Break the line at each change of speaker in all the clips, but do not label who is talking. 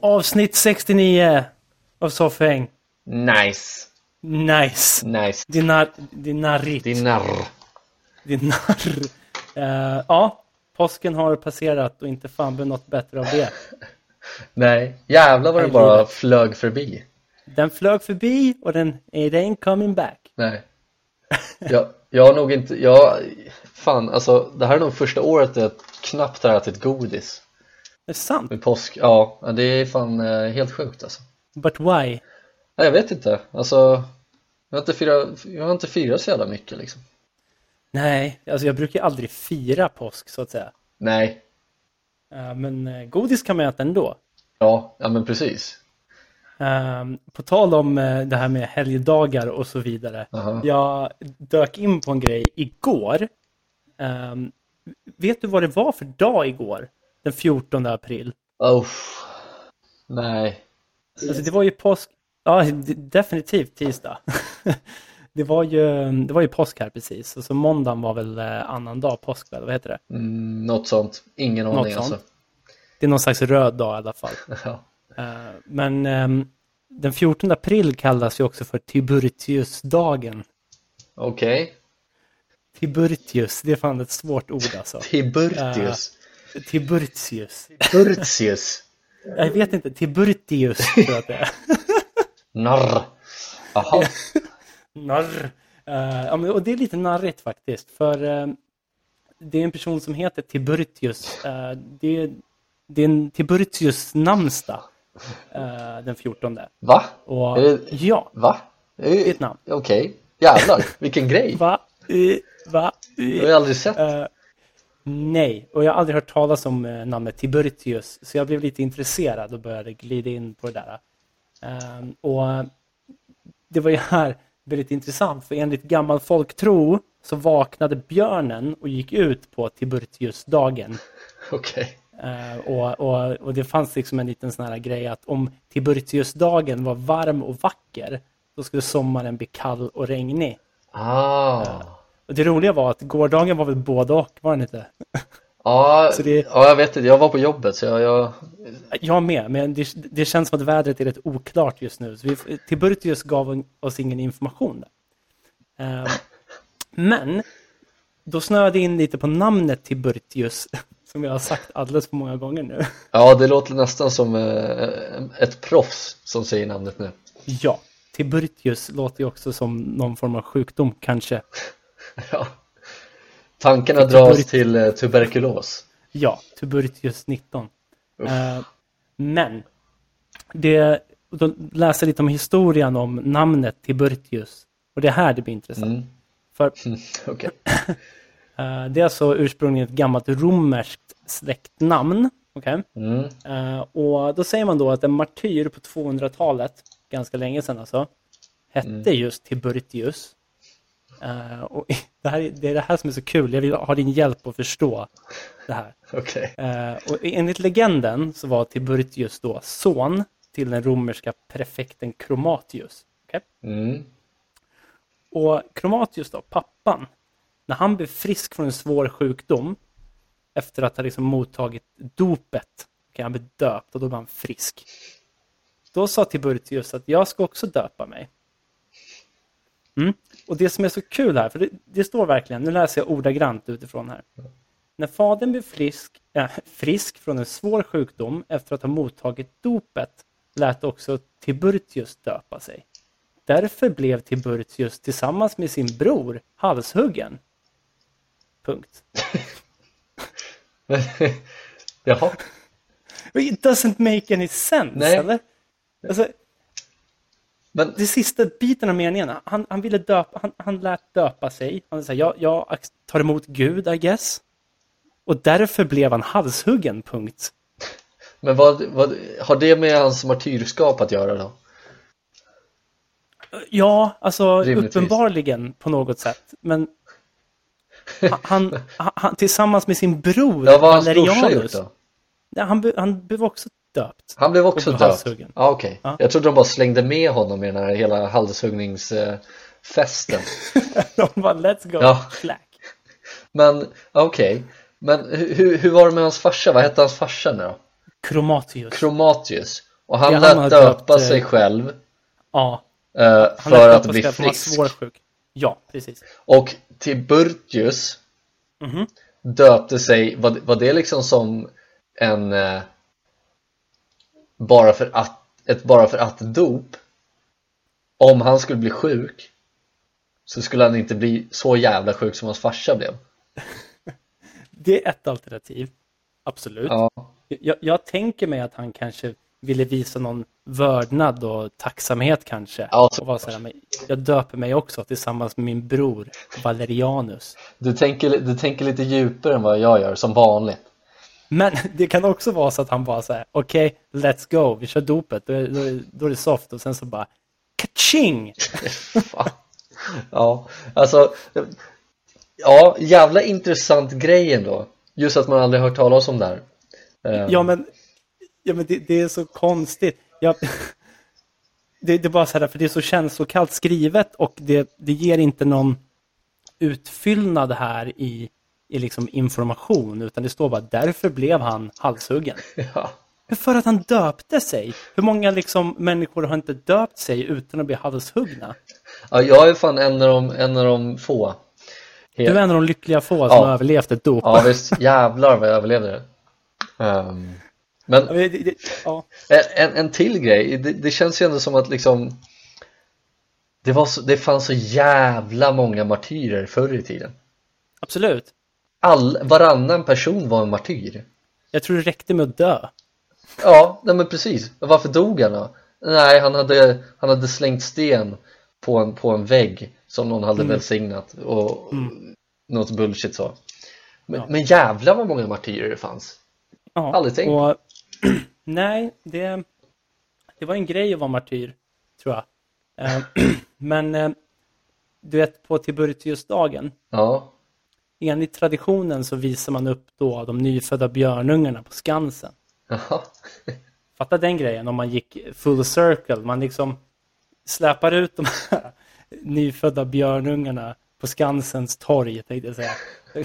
Avsnitt 69 av Soffhäng.
Nice.
Nice.
Nice.
Dinar, dinarrit.
Din narr.
Dinar. Eh, ja, påsken har passerat och inte fan blir något bättre av det.
Nej, jävlar vad den
Herregud.
bara flög förbi.
Den flög förbi och den it ain't coming back.
Nej. Jag, jag har nog inte, jag, fan alltså det här är nog första året jag knappt har ätit godis
Det är sant.
med påsk. Ja, ja, det är fan eh, helt sjukt alltså.
But why?
Nej, jag vet inte, alltså jag har inte firat, jag har inte firat så jävla mycket liksom.
Nej, alltså jag brukar aldrig fira påsk så att säga.
Nej,
Eh, men eh, godis kan man äta ändå.
ja, ja men precis.
Ehm, på tal om eh, det här med helgdagar och så vidare.
Aha.
Jag dök in på en grej igår. Ehm, vet du vad det var för dag igår? Den 14 april.
Uff. Nej,
Alltså det var ju påsk. Ja, d- definitivt tisdag. det, var ju, det var ju påsk här precis. Och så måndagen var väl eh, annan dag, påsk väl, vad heter det?
mm, något sånt, ingen
Något
aning
sånt.
alltså.
Det är någon slags röd dag i alla fall.
Ja.
Eh, men ehm, den 14 april kallas ju också för Tiburtiusdagen.
Okej,
Tiburtius, det är fan ett svårt ord alltså.
Tiburtius.
Tiburtius.
Tiburtius.
Jag vet inte, Tiburtius tror jag att det är.
Narr. Jaha.
Narr. Eh, ja, men, och det är lite narrigt faktiskt. För eh, det är en person som heter Tiburtius. Eh, det, är, det är en Tiburtius namnsdag eh, den 14.
Va?
Och
Är det-
ja,
Va? Det är-
ett namn.
Okej. Jävlar, vilken grej.
va, i, va, i.
Jag har jag aldrig sett.
Eh, nej, och jag har aldrig hört talas om eh, namnet Tiburtius, så jag blev lite intresserad och började glida in på det där. Eh, och eh, Det var ju här väldigt intressant, för enligt gammal folktro så vaknade björnen och gick ut på Tiburtiusdagen.
Okej.
Eh, och, och, och det fanns liksom en liten sån här grej att om Tiburtiusdagen var varm och vacker, då skulle sommaren bli kall och regnig.
Ah.
Och det roliga var att gårdagen var väl både och, var den inte?
Ja,
Så det-
Ah. ja, jag vet inte. Jag var på jobbet så jag... jag...
Jag med, men det, det känns som att vädret är rätt oklart just nu. Så vi, Tiburtius gav en- oss ingen information. Där. Ehm, men då snöade jag in lite på namnet Tiburtius, som jag har sagt alldeles för många gånger nu.
Ja, det låter nästan som eh, ett proffs som säger namnet nu.
Ja, Tiburtius låter ju också som någon form av sjukdom kanske.
Ja. Tankarna dras till eh, tuberkulos.
Ja, Tiburtius 19. Eh, men, det, då läser jag lite om historien om namnet Tiburtius. Och det är här det blir intressant.
Mm.
För
Mm, Okej.
Eh, Det är alltså ursprungligen ett gammalt romerskt släktnamn. okej?
Mm.
Eh, Och då säger man då att en martyr på 200-talet, ganska länge sedan alltså, hette just Tiburtius. Eh, Och det, här, är- det är det här som är så kul, jag vill ha din hjälp att förstå det här.
Okej.
Eh, Och enligt legenden så var Tiburtius då son till den romerska prefekten Chromatius. okej?
Mm.
Och Chromatius då, pappan, när han blev frisk från en svår sjukdom efter att ha liksom mottagit dopet, okay, han blev döpt och då var han frisk. Då sa Tiburtius att jag ska också döpa mig. Mm. Och det som är så kul här, för det, det står verkligen, nu läser jag ordagrant utifrån här. När fadern blev frisk, äh, frisk från en svår sjukdom efter att ha mottagit dopet lät också Tiburtius döpa sig. Därför blev Tiburtius tillsammans med sin bror halshuggen. Punkt.
Jaha.
It doesn't make any sense,
Nej.
eller? Alltså,
Men
det sista biten av meningen, han, han ville döpa, han, han lät döpa sig. Han sa, jag, jag ac- tar emot Gud, I guess. Och därför blev han halshuggen, punkt.
Men vad, vad har det med hans martyrskap att göra då?
Ja, alltså
Rimligtvis.
uppenbarligen på något sätt. Men Han, han, han, tillsammans med sin bror
Ja, vad har hans brorsa gjort då?
Nej, han, be- han blev också döpt.
Han blev också
Och
döpt?
blev halshuggen.
Ja, okej.
Ja.
Jag trodde de bara slängde med honom i den här hela halshuggningsfesten.
De bara, let's go,
Ja.
clack.
Men okej, men hu- hur, hur var det med hans farsa? Vad hette hans farsa nu då?
Kromatius.
Kromatius. Och han
Ja, han
lät
har
döpa
döpt, eh,
sig själv
ja,
eh,
han
för
lät
att
hoppas
bli
det, för han var
frisk.
svårsjuk. Ja, precis.
Och Tiburtius
Mhm.
döpte sig, var, var det liksom som en eh, bara för att, ett bara för att dop? Om han skulle bli sjuk så skulle han inte bli så jävla sjuk som hans farsa blev.
Det är ett alternativ. Absolut.
Ja,
Jag, jag tänker mig att han kanske ville visa någon vördnad och tacksamhet kanske.
Ja,
och vara så här, men jag döper mig också tillsammans med min bror Valerianus.
du tänker, du tänker lite djupare än vad jag gör, som vanligt.
Men det kan också vara så att han bara så här, okej, let's go, vi kör dopet, då är, då, är, då är det soft och sen så bara, kaching!
Fan. Ja, alltså Ja, jävla intressant grej ändå Just att man aldrig hört talas om det här Eh,
Ja men, ja, men det, det är så konstigt. Jag, det, det är bara så här, för det är så känslokallt skrivet och det, det ger inte någon utfyllnad här i, i liksom information, utan det står bara därför blev han halshuggen.
ja.
Men För att han döpte sig. Hur många liksom människor har inte döpt sig utan att bli halshuggna?
ja, jag är fan en av de, en av de få
Du är en av de lyckliga få som
Ja.
har överlevt ett dop.
Ja visst, jävlar vad jag överlevde det Ehm, Men
Ja, men det- det- ja.
En, en, en till grej, det, det känns ju ändå som att liksom det, var så, det fanns så jävla många martyrer förr i tiden
Absolut.
All, Varannan person var en martyr
Jag tror det räckte med att dö.
Ja, nej men precis. Varför dog han då? Nej, han hade, han hade slängt sten på en, på en vägg som någon hade välsignat och något bullshit så. Men,
Ja.
men jävlar vad många martyrer det fanns.
Ja,
Aldrig tänkt
och, Nej, det, det var en grej att vara martyr, tror jag. Eh, Men eh, du vet, på Tiburtiusdagen,
Ja,
enligt traditionen så visar man upp då de nyfödda björnungarna på Skansen.
jaha.
Fatta den grejen om man gick full circle. Man liksom släpar ut de här nyfödda björnungarna på Skansens torg, tänkte jag säga.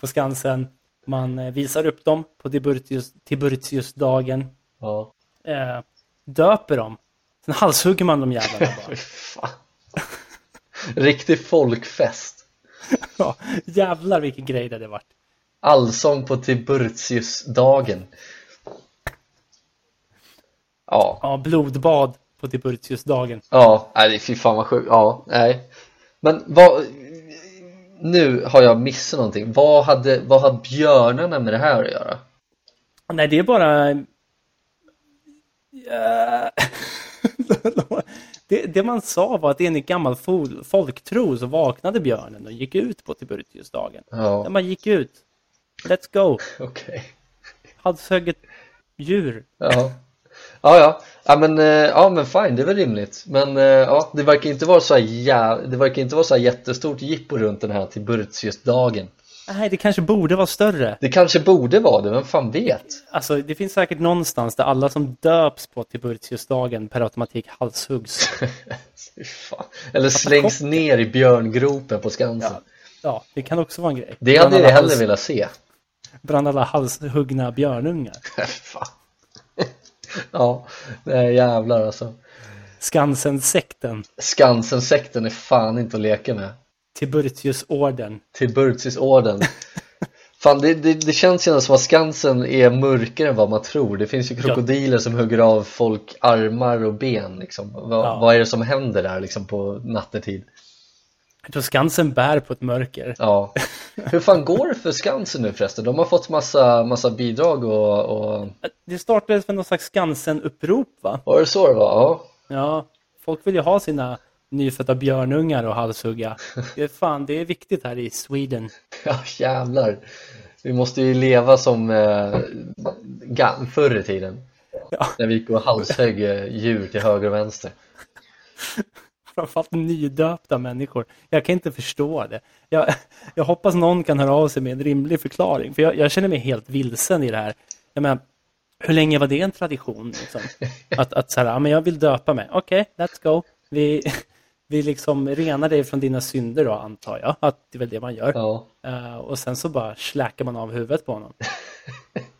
på Skansen. Man eh, visar upp dem på Tiburtius, Tiburtiusdagen.
Ja,
Eh, döper dem. Sen halshugger man de jävlarna bara.
Fy fan. Riktig folkfest.
Ja, jävlar vilken grej det hade varit.
Allsång på Tiburtiusdagen. Ja,
Ja, blodbad på typ Tiburtiusdagen.
Ja, nej fy fan vad sjukt. Ja, nej. Men vad, nu har jag missat någonting. Vad hade, vad hade björnarna med det här att göra?
Nej, det är bara... eh, Ja. det, det man sa var att enligt gammal fol- folktro så vaknade björnen och gick ut på typ Tiburtiusdagen. När
Ja,
man gick ut, let's go,
okej.
halshögg ett djur.
Ja. Ja, ja. Ja, men, eh, ja, men fine, det är väl rimligt. Men eh, ja, det verkar inte vara så här, ja, det verkar inte vara så här jättestort jippo runt den här Tiburtiusdagen.
Nej, det kanske borde vara större.
Det kanske borde vara det, vem fan vet?
Alltså, det finns säkert någonstans där alla som döps på Tiburtiusdagen per automatik halshuggs.
Fy fan. Eller slängs ner i björngropen på Skansen.
Ja, det kan också vara en grej.
Det hade
Bland
jag
alla
hellre
hals-
velat se.
Bland alla halshuggna björnungar.
Fan. Ja, nej jävlar alltså.
Skansen-sekten.
Skansen-sekten är fan inte att leka med.
Tiburtiusorden.
Tiburtiusorden. Fan, det, det, det känns ju ändå som att Skansen är mörkare än vad man tror. Det finns ju krokodiler som hugger av folk armar och ben. Liksom. Vad-
Ja.
Vad är det som händer där liksom, på nattetid?
Jag tror Skansen bär på ett mörker.
Ja. Hur fan går det för Skansen nu förresten? De har fått massa, massa bidrag och, och...
Det startades med någon slags Skansen-upprop, va?
Var det så det var? Ja.
Ja, folk vill ju ha sina nyfödda björnungar och halshugga. Det är fan, det är viktigt här i Sweden.
Ja, jävlar. Vi måste ju leva som eh, ga- förr i tiden.
Ja.
När vi gick och halshögg eh, djur till höger och vänster.
Framförallt nydöpta människor. Jag kan inte förstå det. Jag, jag hoppas någon kan höra av sig med en rimlig förklaring. För jag, jag känner mig helt vilsen i det här. Jag menar, hur länge var det en tradition? Liksom? Att, att så här, ja, men jag vill döpa mig. Okej, let's go. Vi, vi liksom renar dig från dina synder då, antar jag. Att det är väl det man gör.
Ja.
Eh, och sen så bara släkar man av huvudet på honom.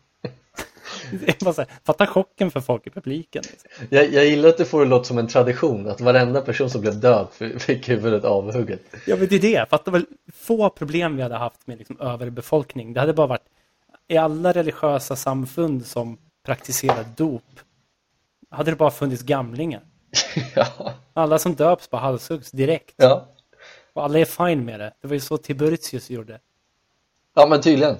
Det är bara så här, Fatta chocken för folk i publiken. Liksom.
Jag, jag gillar att du får det låta som en tradition att varenda person som blev döpt f- fick huvudet avhugget.
Ja, men det är det. Fatta väl få problem vi hade haft med liksom, överbefolkning. Det hade bara varit i alla religiösa samfund som praktiserar dop hade det bara funnits gamlingar.
ja.
Alla som döps bara halshuggs direkt.
Ja.
Och alla är fine med det. Det var ju så Tiburtius gjorde.
ja, men tydligen.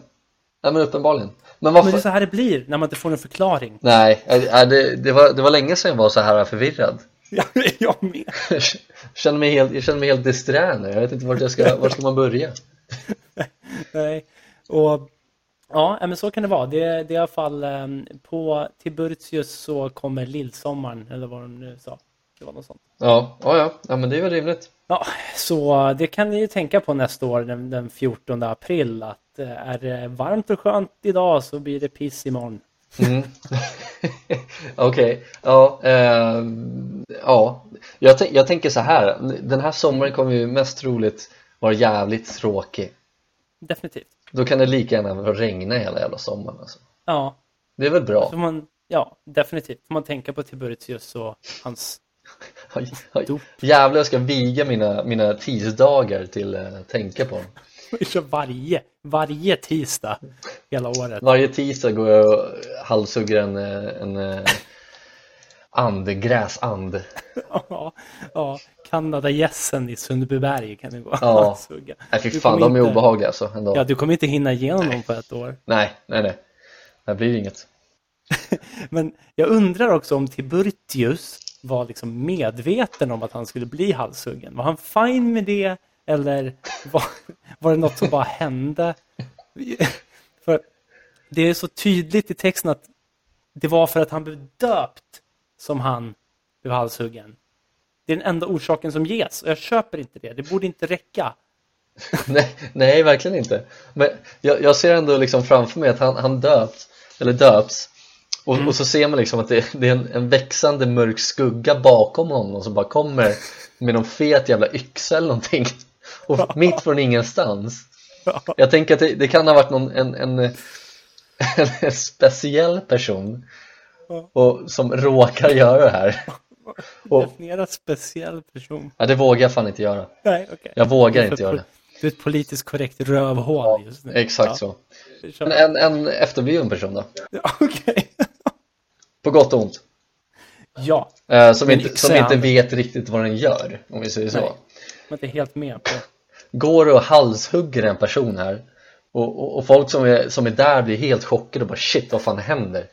Nej, men uppenbarligen. Men varför?
Men det är så här det blir när man inte får en förklaring.
Nej, äh, äh, det, det, var, det var länge sedan jag var så här förvirrad.
Ja, jag med.
Jag känner mig helt, jag känner mig helt disträ nu. Jag vet inte vart jag ska, var ska man börja?
Nej. Och, ja, men så kan det vara. Det, det är i alla fall eh, på Tiburtius så kommer lillsommaren, eller vad de nu sa. Det var något sånt.
Ja, ja, ja, ja men det är väl rimligt.
Ja, så det kan ni ju tänka på nästa år den, den 14 april att eh, är det varmt och skönt idag så blir det piss imorgon.
Mm. Okej, ja, eh, ja. Jag, tän- jag tänker så här. Den här sommaren kommer ju mest troligt vara jävligt tråkig.
Definitivt.
Då kan det lika gärna regna hela jävla sommaren. Alltså.
Ja,
Det är väl bra?
får man, ja definitivt. Får man tänka på Tiburtius och hans...
Oj, oj.
Dop.
Jävlar, jag ska viga mina, mina tisdagar till eh, tänka på.
Vi kör varje, varje tisdag hela året.
Varje tisdag går jag och halshugger en, eh, en eh, and, gräsand.
Ja, ja. Kanadagässen i Sundbyberg kan det gå.
Ja.
att sugga.
Nej fy
Du
fan,
kommer
de är
inte-
obehagliga alltså ändå.
Ja, du kommer inte hinna igenom dem på ett år.
Nej, nej, nej. Det här blir inget.
Men jag undrar också om Tiburtius var liksom medveten om att han skulle bli halshuggen. Var han fine med det eller var, var det något som bara hände? För det är så tydligt i texten att det var för att han blev döpt som han blev halshuggen. Det är den enda orsaken som ges och jag köper inte det. Det borde inte räcka.
Nej, nej, verkligen inte. Men jag, jag ser ändå liksom framför mig att han, han döpt, eller döps och,
Mm.
och så ser man liksom att det, det är en, en växande mörk skugga bakom honom som bara kommer med någon fet jävla yxa eller någonting och mitt från ingenstans.
Ja.
Jag tänker att det, det kan ha varit någon, en, en, en, en speciell person
Ja.
och, som råkar göra det här. Och,
Definiera speciell person.
ja, det vågar jag fan inte göra.
Nej, okej.
Jag vågar
Du är
inte göra
pol-
det.
Du är ett politiskt korrekt rövhål just nu.
Exakt
Ja,
så.
vi kör.
Men en, en efterbliven person då?
Ja, Okej.
På gott och ont.
Ja,
Eh, som
Men
inte,
yxa
som
i
inte
handen.
vet riktigt vad den gör, om vi säger så.
Nej. man är inte helt med på.
Går och halshugger en person här och, och, och folk som är, som är där blir helt chockade och bara shit, vad fan händer?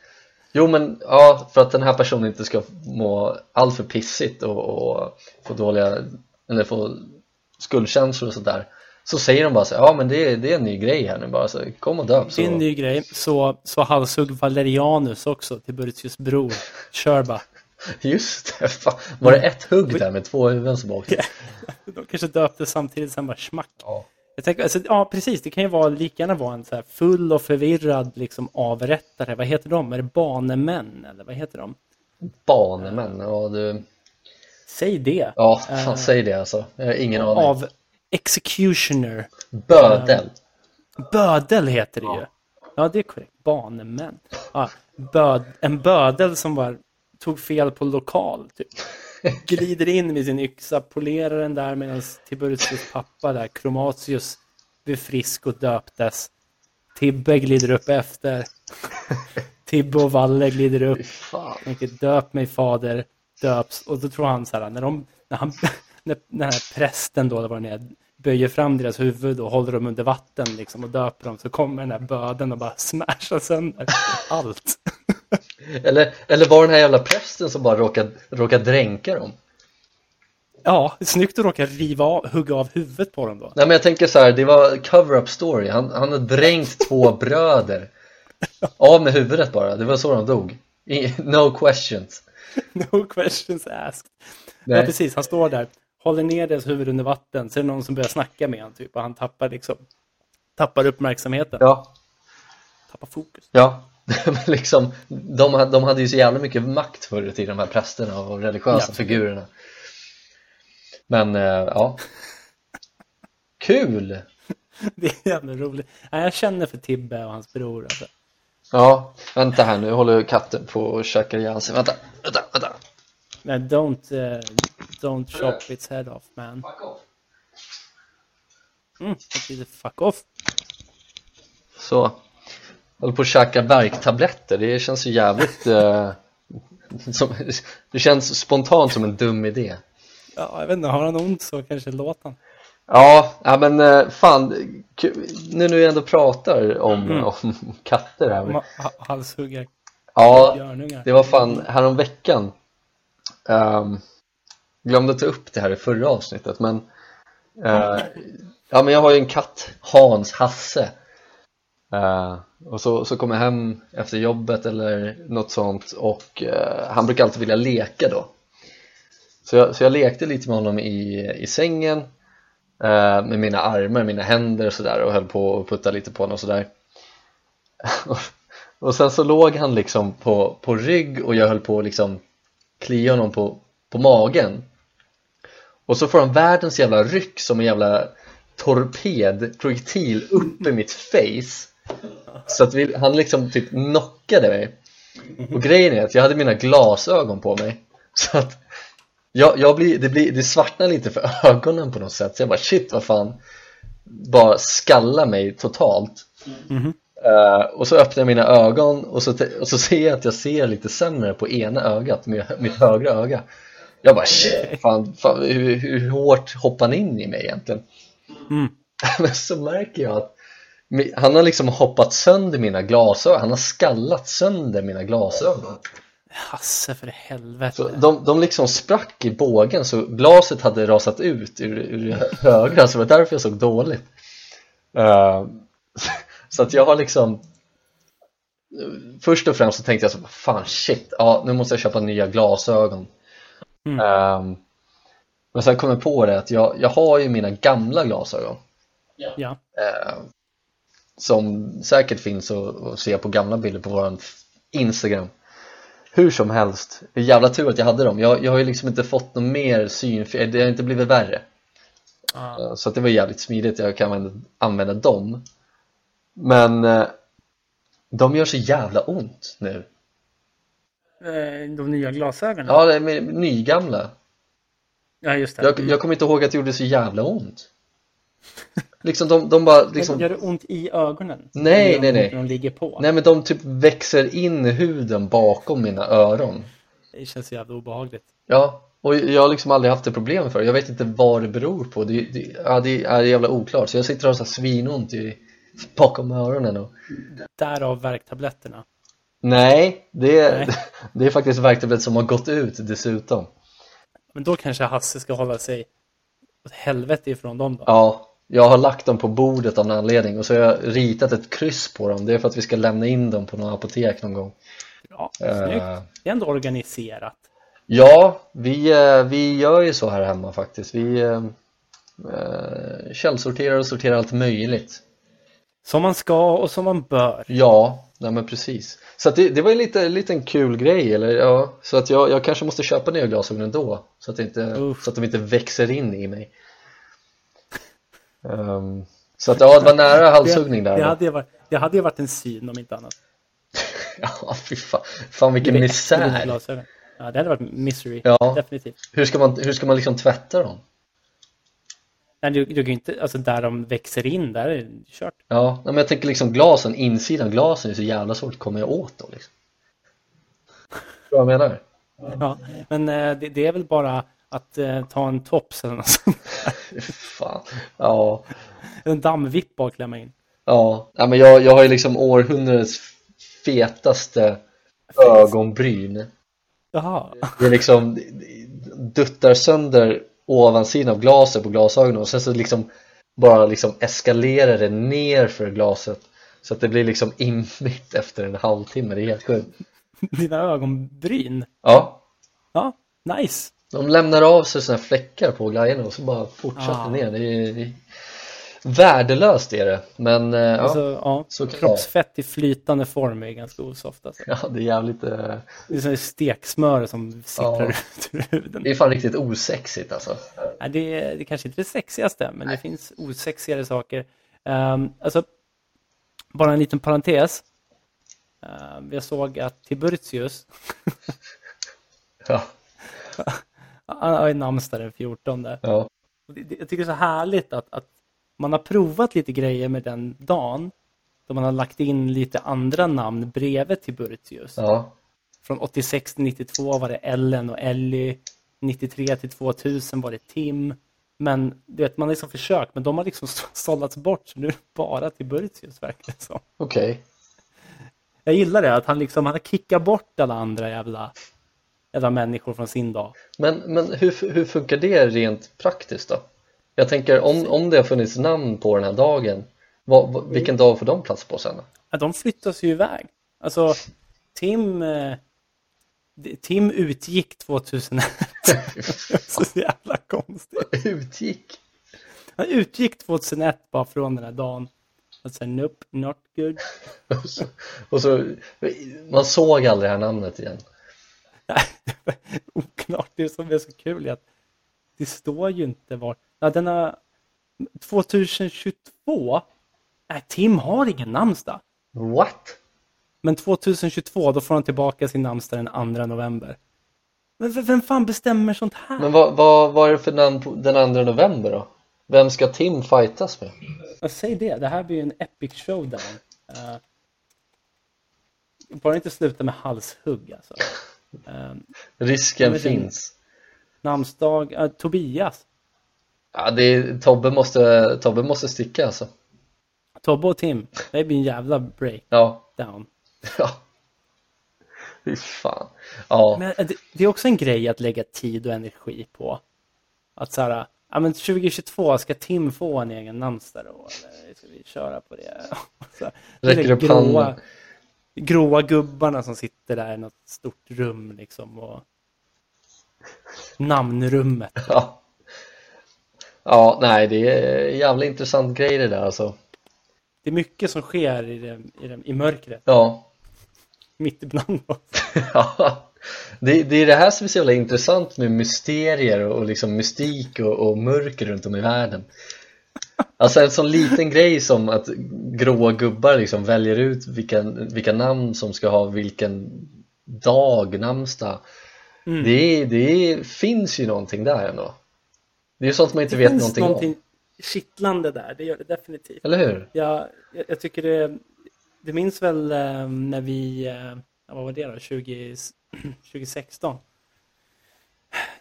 Jo men, ja, för att den här personen inte ska må allt för pissigt och, och få dåliga, eller få skuldkänslor och sådär så säger de bara så här, ja men det, är- det är en ny grej här nu bara, så kom och döp så.
Det är en ny grej. Så, så halshugg Valerianus också till Burtius bror. Kör bara.
Just det, fan. var det ett
Mm.
hugg där med två huvuden som åkte?
De kanske döpte samtidigt, sen bara smack.
Ja.
Jag tänker, alltså, ja, precis. Det kan ju vara, lika gärna vara en så här full och förvirrad liksom, avrättare. Vad heter de? Är det banemän? Eller vad heter de?
Banemän, ja du,
Säg det.
ja fan säg det alltså, jag har ingen aning
Eh, Av eh, executioner.
Bödel,
Bödel heter det ju. Ja, det är korrekt. Banemän. Ja, böd, en bödel som var, tog fel på lokal. Typ. Glider in med sin yxa, polerar den där medan Tiburtius pappa där, Kromatius, blev frisk och döptes. Tibbe glider upp efter. Tibbe och Valle glider upp.
fan
Tänker döp mig fader, döps. Och då tror han så här, när, de, när, han, när den här prästen då, eller vad det är, böjer fram deras huvud och håller dem under vatten liksom, och döper dem så kommer den här böden och bara smashar sönder allt.
eller, eller var den här jävla prästen som bara råkade, råkade dränka dem?
Ja, snyggt att råka riva av, hugga av huvudet på dem då.
Nej men jag tänker så här, det var cover-up story, han, han har dränkt två bröder Av med huvudet bara, det var så de dog I, No questions
No questions asked.
Nej.
Ja, precis. Han står där, håller ner deras huvud under vatten så är det någon som börjar snacka med honom typ, och han tappar, liksom, tappar uppmärksamheten.
Ja,
Tappar fokus.
ja. Men liksom, de, ha- de hade ju så jävla mycket makt förr i tiden, de här prästerna och religiösa
Ja.
figurerna. Men eh, ja. Kul!
Det är jävla roligt. Ja, jag känner för Tibbe och hans bror. Alltså.
Ja, vänta här nu håller katten på att käka ihjäl sig. Vänta, vänta, vänta.
Nej, don't, eh, don't
Äh.
chop its head off man. Mm, ett litet fuck off.
Så. Håller på att käka värktabletter. Det känns ju jävligt... eh, som, det känns spontant som en dum idé.
Ja, jag vet inte, har han ont så kanske låt han.
Ja, ja men eh, fan. kul- Nu när vi ändå pratar om, om katter här.
Ma- ha- Halshugga
Ja,
björnungar.
Det var fan häromveckan um, Glömde ta upp det här i förra avsnittet men eh, Ja men jag har ju en katt, Hans Hasse Eh, Och så, så kommer jag hem efter jobbet eller något sånt och eh, han brukar alltid vilja leka då Så jag, så jag lekte lite med honom i, i sängen eh, Med mina armar, mina händer och sådär och höll på att putta lite på honom och sådär och sen så låg han liksom på, på rygg och jag höll på att liksom klia honom på, på magen Och så får han världens jävla ryck som en jävla torpedprojektil upp i mitt face Så att vi, han liksom typ knockade mig Och grejen är att jag hade mina glasögon på mig Så att jag, jag blir, det, blir, det svartnar lite för ögonen på något sätt Så jag bara shit vad fan Bara skalla mig totalt Eh, och så öppnar jag mina ögon och så, te- och så ser jag att jag ser lite sämre på ena ögat, med mitt högra öga Jag bara shit, fan, fan hur, hur hårt hoppar han in i mig egentligen?
Mm.
Men så märker jag att mi- han har liksom hoppat sönder mina glasögon, han har skallat sönder mina glasögon
Hasse för
så
helvete.
de, de liksom sprack i bågen så glaset hade rasat ut ur, ur det högra så det var därför jag såg dåligt Eh, Så att jag har liksom Först och främst så tänkte jag så fan shit, ja, nu måste jag köpa nya glasögon
Mm.
Ehm, Men sen kom jag på det att jag, jag har ju mina gamla glasögon
Ja.
eh, som säkert finns att att se på gamla bilder på vår Instagram hur som helst, det är jävla tur att jag hade dem jag, jag har ju liksom inte fått någon mer synfel, det har inte blivit värre
Ja.
Eh, så att det var jävligt smidigt, jag kan använda, använda dem men eh, de gör så jävla ont nu
Eh, De nya glasögonen?
ja, det är med- nygamla
Ja, just det. Mm.
jag, jag kommer inte ihåg att det gjorde så jävla ont liksom de, de bara liksom,
Men Gör det ont i ögonen?
Nej,
Eller gör det
nej,
ont
nej.
När de ligger på?
Nej men de typ växer in i huden bakom mina öron
Det känns så jävla obehagligt.
Ja, och jag har liksom aldrig haft det problem för Jag vet inte vad det beror på Det, det, ja, det är jävla oklart Så jag sitter och har så här svinont i, bakom öronen och...
Därav värktabletterna.
Nej, det,
Nej.
det är faktiskt verktyget som har gått ut dessutom
Men då kanske Hasse ska hålla sig åt helvete ifrån dem då.
Ja, jag har lagt dem på bordet av en anledning och så har jag ritat ett kryss på dem Det är för att vi ska lämna in dem på något apotek någon gång
Bra,
Eh.
snyggt. Det är ändå organiserat.
Ja, vi, eh, vi gör ju så här hemma faktiskt Vi eh, eh, källsorterar och sorterar allt möjligt
Som man ska och som man bör.
Ja, nej men precis. Så att det, det var ju lite, lite en kul grej, eller ja, så att jag, jag kanske måste köpa nya glasögon ändå så att, det inte,
Uff.
så att de inte växer in i mig. Ehm, så att ja, det var nära halshuggning där.
Det hade, ju varit, det hade ju varit en syn om inte annat.
Ja, fy fan, fan vilken
Med dina
misär.
glasögon. Ja, det hade varit misery.
Ja.
Definitivt.
Hur ska man, hur ska man liksom tvätta dem?
Nej, du, du kan ju inte, alltså där de växer in, där är det kört.
Ja, nej, men jag tänker liksom glasen, insidan av glasen är så jävla svårt att komma åt då liksom. Förstår du Vad jag menar?
Ja, men eh, det, det är väl bara att eh, ta en tops eller något sånt.
Fy Fan, ja.
En dammvippa och klämma in.
Ja, nej, men jag, jag har ju liksom århundradets fetaste ögonbryn.
Jaha.
Det är liksom duttar sönder ovansidan av glaset på glasögonen och sen så liksom bara liksom eskalerar det ner för glaset så att det blir liksom immigt efter en halvtimme. Det är helt sjukt.
Dina ögonbryn.
Ja,
Ja, nice.
De lämnar av sig såna här fläckar på glajjorna och så bara fortsätter
Ah.
ner. Det är, det är värdelöst är det. Men eh,
Alltså,
ja,
ja,
så kan det vara.
kroppsfett i flytande form är ganska osoft. Alltså.
ja, det är jävligt eh,
Det är som steksmör som sipprar
Ja.
ut ur huden.
Det är fan riktigt osexigt alltså.
Ja, det, är- det kanske inte är det sexigaste, men det finns osexigare saker. Ehm, alltså, bara en liten parentes. Ehm, jag såg att Tiburtius,
Ja,
han har ju namnsdag den 14.
ja,
Och det- det- Jag tycker det är så härligt att, att man har provat lite grejer med den dagen. Då man har lagt in lite andra namn bredvid Tiburtius.
ja.
Från 86 till 92 var det Ellen och Ellie. 93 till 2000 var det Tim. Men du vet, man har liksom försökt, men de har liksom så- sållats bort. Så nu är det bara Tiburtius verkar det som.
Okej.
Jag gillar det, att han liksom, han har kickat bort alla andra jävla, jävla människor från sin dag.
Men, men hur, hur funkar det rent praktiskt då? Jag tänker om, om det har funnits namn på den här dagen, vad, vad, vilken dag får de plats på sen? då?
Ja, de flyttas ju iväg. Alltså, Tim... eh, det- Tim utgick 2001. så jävla konstigt.
Utgick?
Han utgick 2001 bara från den här dagen. Och sen, nope, not good.
Och så, och så, man såg aldrig det här namnet igen.
Nej, Oklart. Det som är så kul är att det står ju inte var. Ja, den har 2022. Nej, Tim har ingen namnsdag.
What?
Men 2022, då får han tillbaka sin namnsdag den 2 november. Men v- vem fan bestämmer sånt här?
Men vad, vad, vad är det för namn på den 2 november då? Vem ska Tim fightas med?
Ja, säg det. Det här blir ju en epic showdown. Eh, bara inte sluta med halshugg alltså. Uh,
Risken
Men det-
finns.
namnsdag, ja, Tobias.
Ja, det är, Tobbe, måste, Tobbe måste sticka alltså.
Tobbe och Tim. Det blir en jävla breakdown.
Ja, ja. Fy fan. Ja.
Men eh, det, det är också en grej att lägga tid och energi på. Att så här, ja men 2022 ska Tim få en egen namnsdag då? Eller ska vi köra på det? Så, här,
Räcker
det är
upp
gråa,
handen.
gråa gubbarna som sitter där i något stort rum liksom och namnrummet.
Ja. Ja, nej, det är en jävla intressant grej det där alltså.
Det är mycket som sker i, det, i, det, i mörkret,
Ja.
mitt ibland oss.
Ja. Det, det är det här som är så jävla intressant med mysterier och, och liksom mystik och, och mörker runt om i världen. Alltså en sån liten grej som att gråa gubbar liksom väljer ut vilka, vilka namn som ska ha vilken dag, namnsdag.
Mm.
Det, det finns ju någonting där ändå. Det är ju sånt man inte vet
finns
någonting, om,
kittlande där, det gör det definitivt.
eller hur?
Ja, jag, jag tycker det, du minns väl eh, när vi, eh, ja, vad var det då, 20, 2016?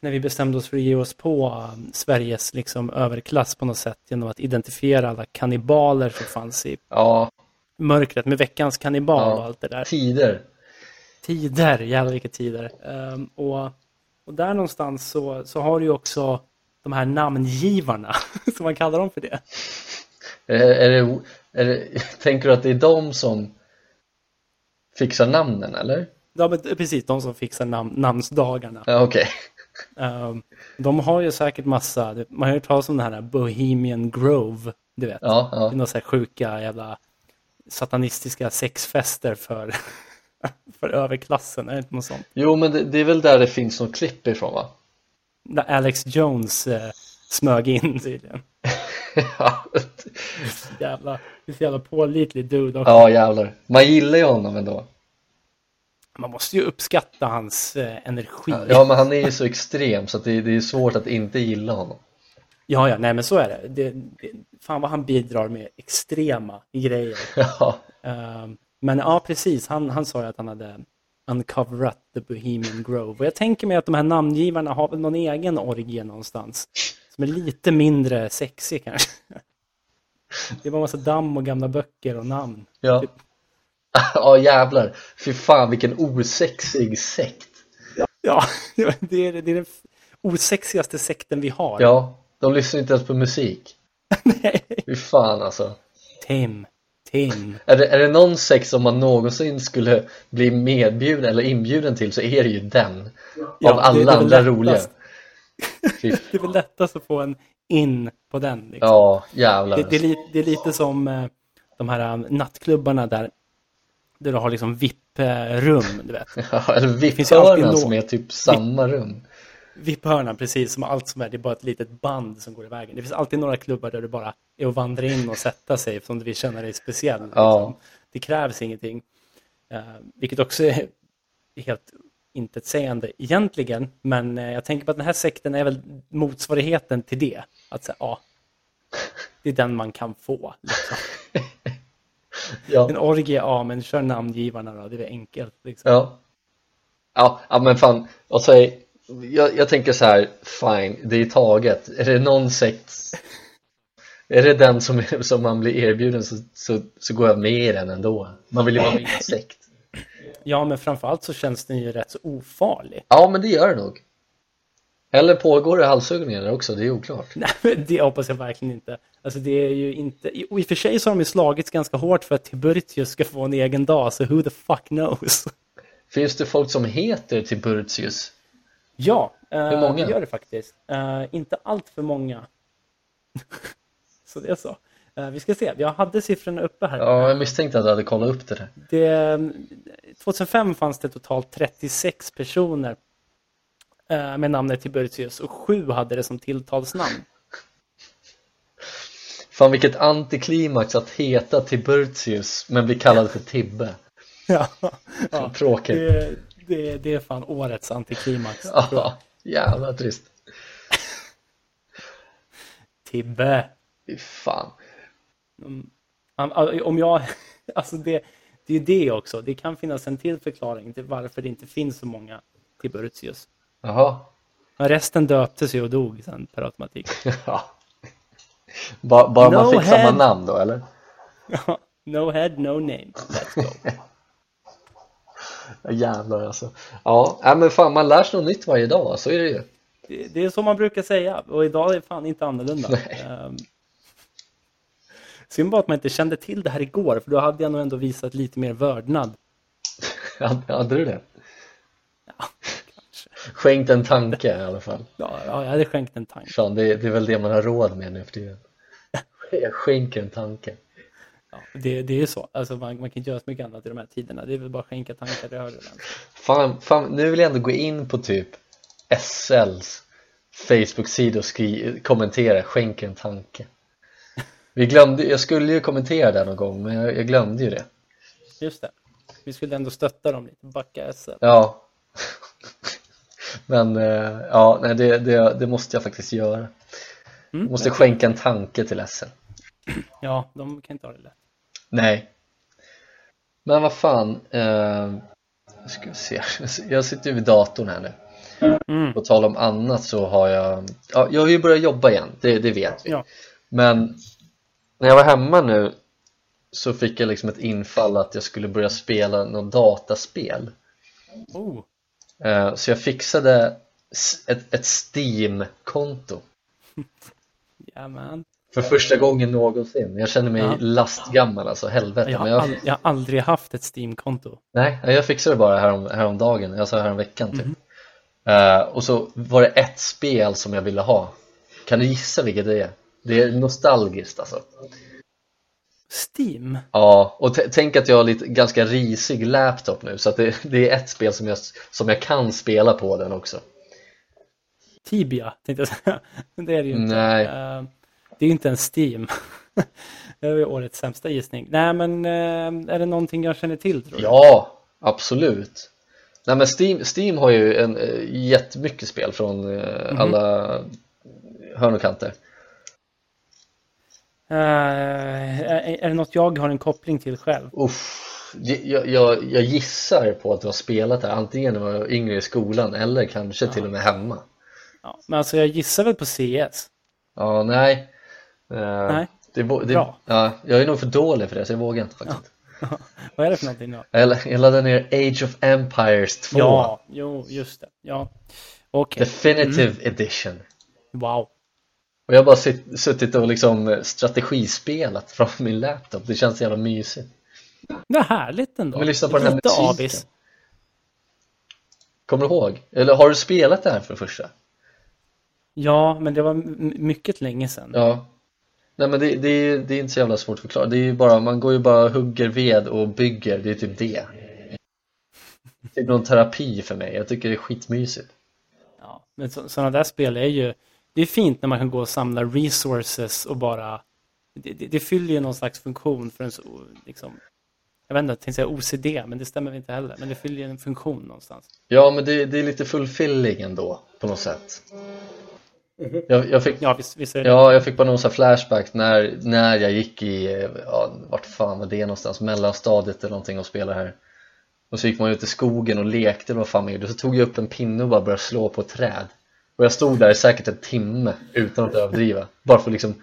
När vi bestämde oss för att ge oss på eh, Sveriges liksom, överklass på något sätt genom att identifiera alla kannibaler som fanns i
Ja,
mörkret med veckans kannibal
Ja.
och allt det där.
tider.
Tider, jävlar vilka tider. Ehm, och, och där någonstans så, så har du ju också de här namngivarna, som man kallar dem för det.
Är, Eh, är det, är det, tänker du att det är de som fixar namnen eller?
Ja, men precis, de som fixar nam- namnsdagarna.
Ja, okej.
Ehm, de har ju säkert massa, det- man har ju hört talas om den här Bohemian Grove, du vet.
Ja,
Det är
ja.
några så här sjuka jävla satanistiska sexfester för, för överklassen, är det inte något sånt?
Jo, men det, det är väl där det finns något klipp ifrån va?
Där Alex Jones eh, smög in tydligen.
Ja.
Jävla, det är så jävla pålitlig dude också.
ja, jävlar. Man gillar ju honom ändå.
Man måste ju uppskatta hans eh, energi.
Ja, men han är ju så extrem så att det, det är svårt att inte gilla honom.
ja, ja, nej men så är det. det, det fan vad han bidrar med extrema grejer.
Ja,
Ehm, Men ja, precis. Han, han sa ju att han hade uncoverat the Bohemian Grove. Och jag tänker mig att de här namngivarna har väl någon egen orgie någonstans. Som är lite mindre sexig kanske. Det var en massa damm och gamla böcker och namn.
ja. Ja, jävlar. Fy fan vilken osexig sekt.
Ja, det är det, är den osexigaste sekten vi har.
Ja, de lyssnar inte ens på musik.
Nej.
Fy fan alltså.
Tim, Tim.
Är det, är det någon sekt som man någonsin skulle bli medbjuden eller inbjuden till så är det ju den.
Ja,
av
det- det är
alla
väl
andra
lättast.
roliga. Fy
Det är väl lättast att få en in på den. Liksom.
Ja, jävlar.
Det, det, är lite, det är lite som eh, de här eh, nattklubbarna där, där du har liksom VIP-rum, du vet.
Ja, eller
finns ju alltid
VIP-hörnan
nå-
som är typ samma rum.
VIP-hörnan, precis som allt som är, det är bara ett litet band som går i vägen. Det finns alltid några klubbar där du bara är och vandrar in och sätta sig eftersom du vill känna dig speciell.
Ja.
Det krävs ingenting. Eh, vilket också är helt intetsägande egentligen, men eh, jag tänker på att den här sekten är väl motsvarigheten till det. Att säga, ja, det är den man kan få. Liksom. En
Ja,
orgie, ja, men kör namngivarna då, det är väl enkelt. Liksom.
ja. Ja, ja, men fan. Och så är, jag, jag tänker så här, fine, det är taget. Är det någon sekt, är det den som, som man blir erbjuden så, så, så går jag med i den ändå. Man vill ju vara med i en sekt.
Ja, men framförallt så känns den ju rätt så ofarlig.
Ja, men det gör det nog. Eller pågår det halshuggningar där också? Det är oklart.
Nej, men det hoppas jag verkligen inte. Alltså det är ju inte... Och i och för sig så har de ju slagits ganska hårt för att Tiburtius ska få en egen dag, så who the fuck knows?
Finns det folk som heter Tiburtius?
Ja, eh,
Hur många?
det gör det faktiskt. Eh, inte allt för många. så det är så. Eh, vi ska se, jag hade siffrorna uppe här.
Ja, jag misstänkte att jag hade kollat upp det där.
Det, 2005 fanns det totalt 36 personer eh, med namnet Tiburtius och sju hade det som tilltalsnamn.
Fan vilket antiklimax att heta Tiburtius men bli kallad för Tibbe.
ja, ja.
Tråkigt.
Det, det, det är fan årets antiklimax. tror jag.
Ja, jävla trist.
Tibbe.
Fy Fan.
Om- Om jag, alltså det, det är ju det också. Det kan finnas en till förklaring till varför det inte finns så många Tiburtius.
Jaha.
Men Resten döptes ju och dog sen per automatik.
Ja. Bara, bara
No
man fick samma
head.
namn då eller?
no head, no name. Let's go.
Ja, Jävlar alltså. Ja, nej, men fan man lär sig något nytt varje dag, så är det ju.
Det, det är så man brukar säga och idag är det fan inte annorlunda.
Nej.
Um, synd bara att man inte kände till det här igår för då hade jag nog ändå visat lite mer vördnad.
Hade du det? Skänkt en tanke i alla fall.
Ja, ja, jag hade skänkt en tanke.
Fan, det, det är väl det man har råd med nu för tiden. Skänk en tanke.
Ja, det, det är ju så. Alltså, man, man kan göra så mycket annat i de här tiderna. Det är väl bara att skänka tankar, det hör du väl.
Fan, fan, nu vill jag ändå gå in på typ SLs Facebook-sida och skri- kommentera skänk en tanke. Vi glömde, jag skulle ju kommentera där någon gång, men jag, jag glömde ju det.
Just det. Vi skulle ändå stötta dem lite. Backa SL.
Ja. Men eh, ja, nej, det, det, det måste jag faktiskt göra.
Mm.
Jag måste skänka en tanke till SL.
Ja, de kan inte ha det lätt.
Nej. Men vad fan. Eh, ska vi se. Jag sitter ju vid datorn här nu.
Mm.
På tal om annat så har jag, ja, jag har ju börjat jobba igen, det, det vet vi.
Ja.
Men när jag var hemma nu så fick jag liksom ett infall att jag skulle börja spela något dataspel.
Oh,
Eh, Så jag fixade s- ett, ett Steam-konto
yeah, man.
för första gången någonsin. Jag känner mig
Ja.
lastgammal alltså, helvete.
Jag, har
Men jag,
ald- jag har aldrig haft ett Steam-konto.
Nej, jag fixade det bara härom, häromdagen, alltså häromveckan typ. Eh, och så var det ett spel som jag ville ha. Kan du gissa vilket det är? Det är nostalgiskt alltså.
Steam?
Ja, och t- tänk att jag har lite ganska risig laptop nu så att det, det är ett spel som jag, som jag kan spela på den också.
Tibia, tänkte jag säga. Men det är det ju inte.
Nej.
Eh, Det är ju inte en Steam. det är ju årets sämsta gissning. Nej, men eh, är det någonting jag känner till, tror du?
Ja, absolut. Nej men Steam, Steam har ju en, eh, jättemycket spel från eh, alla hörn och kanter.
Eh, är, är det något jag har en koppling till själv?
Uff, jag, jag, jag gissar på att du har spelat det här, antingen när du var yngre i skolan eller kanske till och med hemma.
Ja, men alltså, jag gissar väl på CS?
Ja, nej. Eh,
Nej.
Det, vå- det,
Bra.
ja, jag är nog för dålig för det så jag vågar inte faktiskt.
Vad är det för någonting då?
Jag la- Jag laddade ner Age of Empires 2
Ja, jo, just det. Ja. Okej,
Definitive
Mm.
Edition.
wow.
Och jag har bara sitt, suttit och liksom strategispelat från min laptop. Det känns jävla mysigt.
Det är härligt ändå.
Men lyssna på den här
Lite
musiken.
avis.
Kommer du ihåg? Eller har du spelat det här för det första?
Ja, men det var m- mycket länge sedan.
Ja. Nej men det, det, är, det är inte så jävla svårt att förklara. Det är ju bara, man går ju bara och hugger ved och bygger. Det är typ det. Typ någon terapi för mig. Jag tycker det är skitmysigt.
Ja, men så, sådana där spel är ju... Det är fint när man kan gå och samla resources och bara... Det, det, det fyller ju någon slags funktion för ens... o- Liksom, jag vet inte, jag tänkte säga OCD, men det stämmer väl inte heller. Men det fyller ju en funktion någonstans.
Ja men det, det är lite fulfilling ändå på något sätt. Jag, jag fick
Ja, visst, visst är det det.
Ja, jag fick bara någon sån här flashback när, när jag gick i, eh, ja, vart fan var det någonstans, mellanstadiet eller någonting och spelade här. Och så gick man ut i skogen och lekte eller vad fan man gjorde. Så tog jag upp en pinne och bara började slå på ett träd. Och jag stod där i säkert en timme utan att överdriva. Bara för att liksom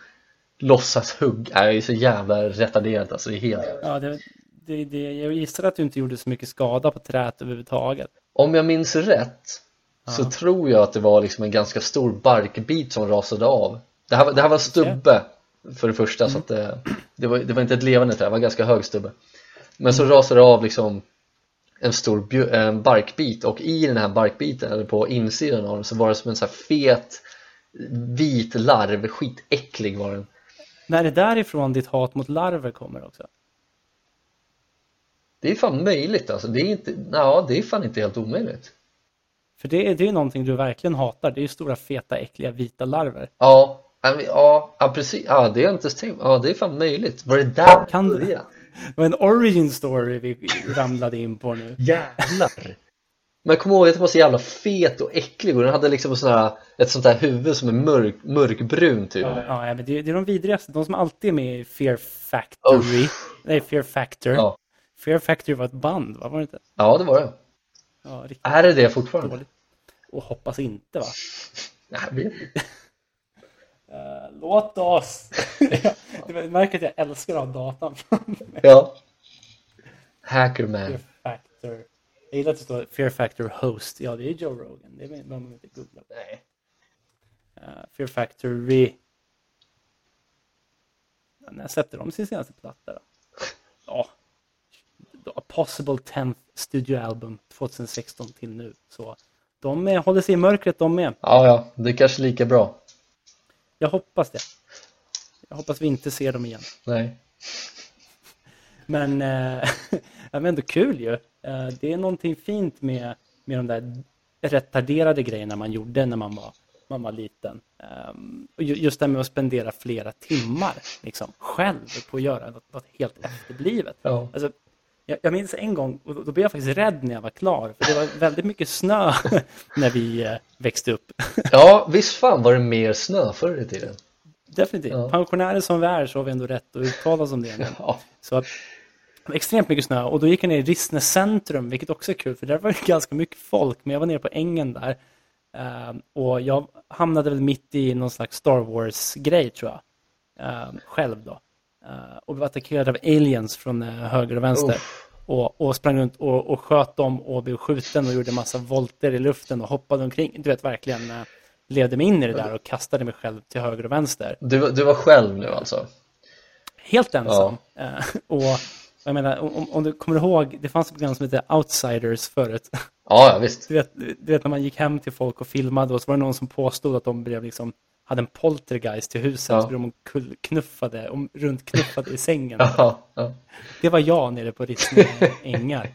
låtsas hugga. Nej, jag är så jävla retarderad alltså. Det är helt...
Ja, det, det, det, jag gissar att du inte gjorde så mycket skada på träet överhuvudtaget.
Om jag minns rätt så
Ja.
tror jag att det var liksom en ganska stor barkbit som rasade av. Det här, var- det här var en stubbe för det första, så att det, det, var, det var inte ett levande träd, det var en ganska hög stubbe. Men så rasade det av liksom en stor bju- en barkbit och i den här barkbiten, eller på insidan av den, så var det som en så här fet vit larv, skitäcklig var den.
När det därifrån ditt hat mot larver kommer också?
Det är fan möjligt alltså, det är, inte, ja, det är fan inte helt omöjligt.
För det, är- det är ju någonting du verkligen hatar. Det är ju stora, feta, äckliga, vita larver.
Ja, ja, men- ja, ja precis. Ja, det har jag inte ens tänkt Ja, det är fan möjligt. Var det där
Kan du-
började?
Det var en origin story vi ramlade in på nu.
Jävlar! Men jag kommer ihåg att den var så jävla fet och äcklig och den hade liksom sån här, ett sånt här huvud som är mörk, mörkbrun typ.
Ja, ja, men det, är- det är de vidrigaste. De som alltid är med i Fear Factory. Nej, Fear Factor.
Ja.
Fear Factory var ett band, va? var det inte?
Ja, det var det.
Ja, riktigt
Är det det fortfarande?
dåligt. Och hoppas inte, va?
Nej, jag vet inte.
Eh, Låt oss! Du märker att jag älskar att ha datan från
Ja. Hackerman.
Fear Factor. Jag gillar att det står Fear Factor Host. Ja, det är Joe Rogan. Det är någon man inte googlar på.
Nej.
Eh, Fear Factory. Ja, när släppte de sin senaste platta då? Ja. A Possible 10th studioalbum 2016 till nu. Så de eh, håller sig i mörkret de med.
Ja, ja, det är kanske lika bra.
Jag hoppas det. Jag hoppas vi inte ser dem igen.
Nej.
Men, eh, ja, men ändå kul ju. Eh, det är någonting fint med, med de där retarderade grejerna man gjorde när man var, man var liten. Ehm, och ju- just det här med att spendera flera timmar liksom, själv på att göra något, något helt efterblivet.
Ja.
Alltså, jag, jag minns en gång, och då, då blev jag faktiskt rädd när jag var klar, för det var väldigt mycket snö när vi eh, växte upp.
Ja, visst fan var det mer snö förr i tiden.
Definitivt.
Ja.
Pensionärer som vi är så har vi ändå rätt att uttala oss om det. Men,
Ja.
Så att, det var extremt mycket snö och då gick jag ner i Rissne centrum, vilket också är kul för där var det ganska mycket folk, men jag var nere på ängen där. Ehm, och jag hamnade väl mitt i någon slags Star Wars-grej tror jag. Ehm, själv då. Ehm, och blev attackerad av aliens från eh, höger och vänster. Och, och sprang runt och, och sköt dem och blev skjuten och gjorde massa volter i luften och hoppade omkring. Du vet verkligen eh, levde mig in i det där och kastade mig själv till höger och vänster
Du, var- du var själv nu alltså?
helt ensam. Eh, och jag menar, om, om du kommer ihåg, det fanns ett program som hette Outsiders förut.
Ja, ja, visst.
Du vet, du vet när man gick hem till folk och filmade och så var det någon som påstod att de blev liksom, hade en poltergeist till huset,
Ja.
så blev de omkull- knuffade, om, runtknuffade i sängen.
Ja, ja.
Det var jag nere på Rissne ängar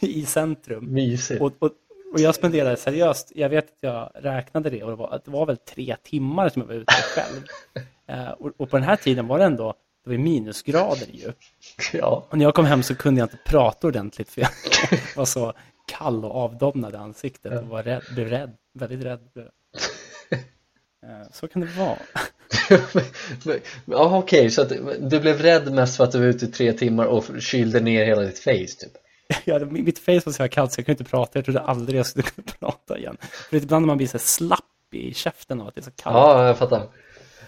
i centrum.
Mysigt.
Och, och, och jag spenderade seriöst, jag vet att jag räknade det och det var, att det var väl tre timmar som jag var ute själv. Eh, och, och på den här tiden var det ändå, det var ju minusgrader ju.
Ja.
Och när jag kom hem så kunde jag inte prata ordentligt för jag var så kall och avdomnad i ansiktet och var rädd, blev rädd, väldigt rädd. Eh, Så kan det vara.
Men- men- Ja, okej, så att du blev rädd mest för att du var ute i tre timmar och kylde ner hela ditt face typ?
Jag hade, mitt face var så här kallt så jag kunde inte prata. Jag trodde aldrig jag skulle kunna prata igen. För ibland när man blir så här slapp i käften av att det är så kallt.
Ja, jag fattar.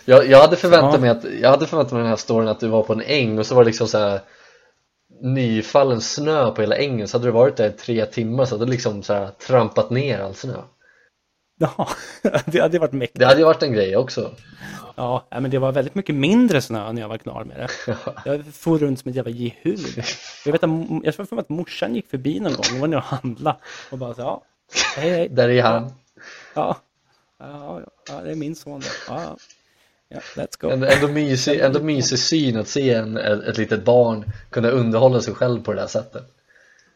Jag, jag, hade förväntat
Ja.
mig att, jag hade förväntat mig den här storyn att du var på en äng och så var det liksom så här nyfallen snö på hela ängen så hade du varit där i tre timmar så hade du liksom så här trampat ner all snö.
Jaha, det hade varit mäktigt.
Det hade ju varit en grej också.
Ja, nej, men det var väldigt mycket mindre snö när jag var klar med det. Jag for runt som ett jävla jehul. Jag vet att, jag tror för mig att morsan gick förbi någon gång, hon var nere och handlade och bara så ja, hej hej.
Där är han.
Ja. ja, ja, ja, det är min son. det. Ja, ja. ja, let's go.
Ändå, ändå, mysig, ändå mysig syn att se en, ett, ett litet barn kunna underhålla sig själv på det där sättet.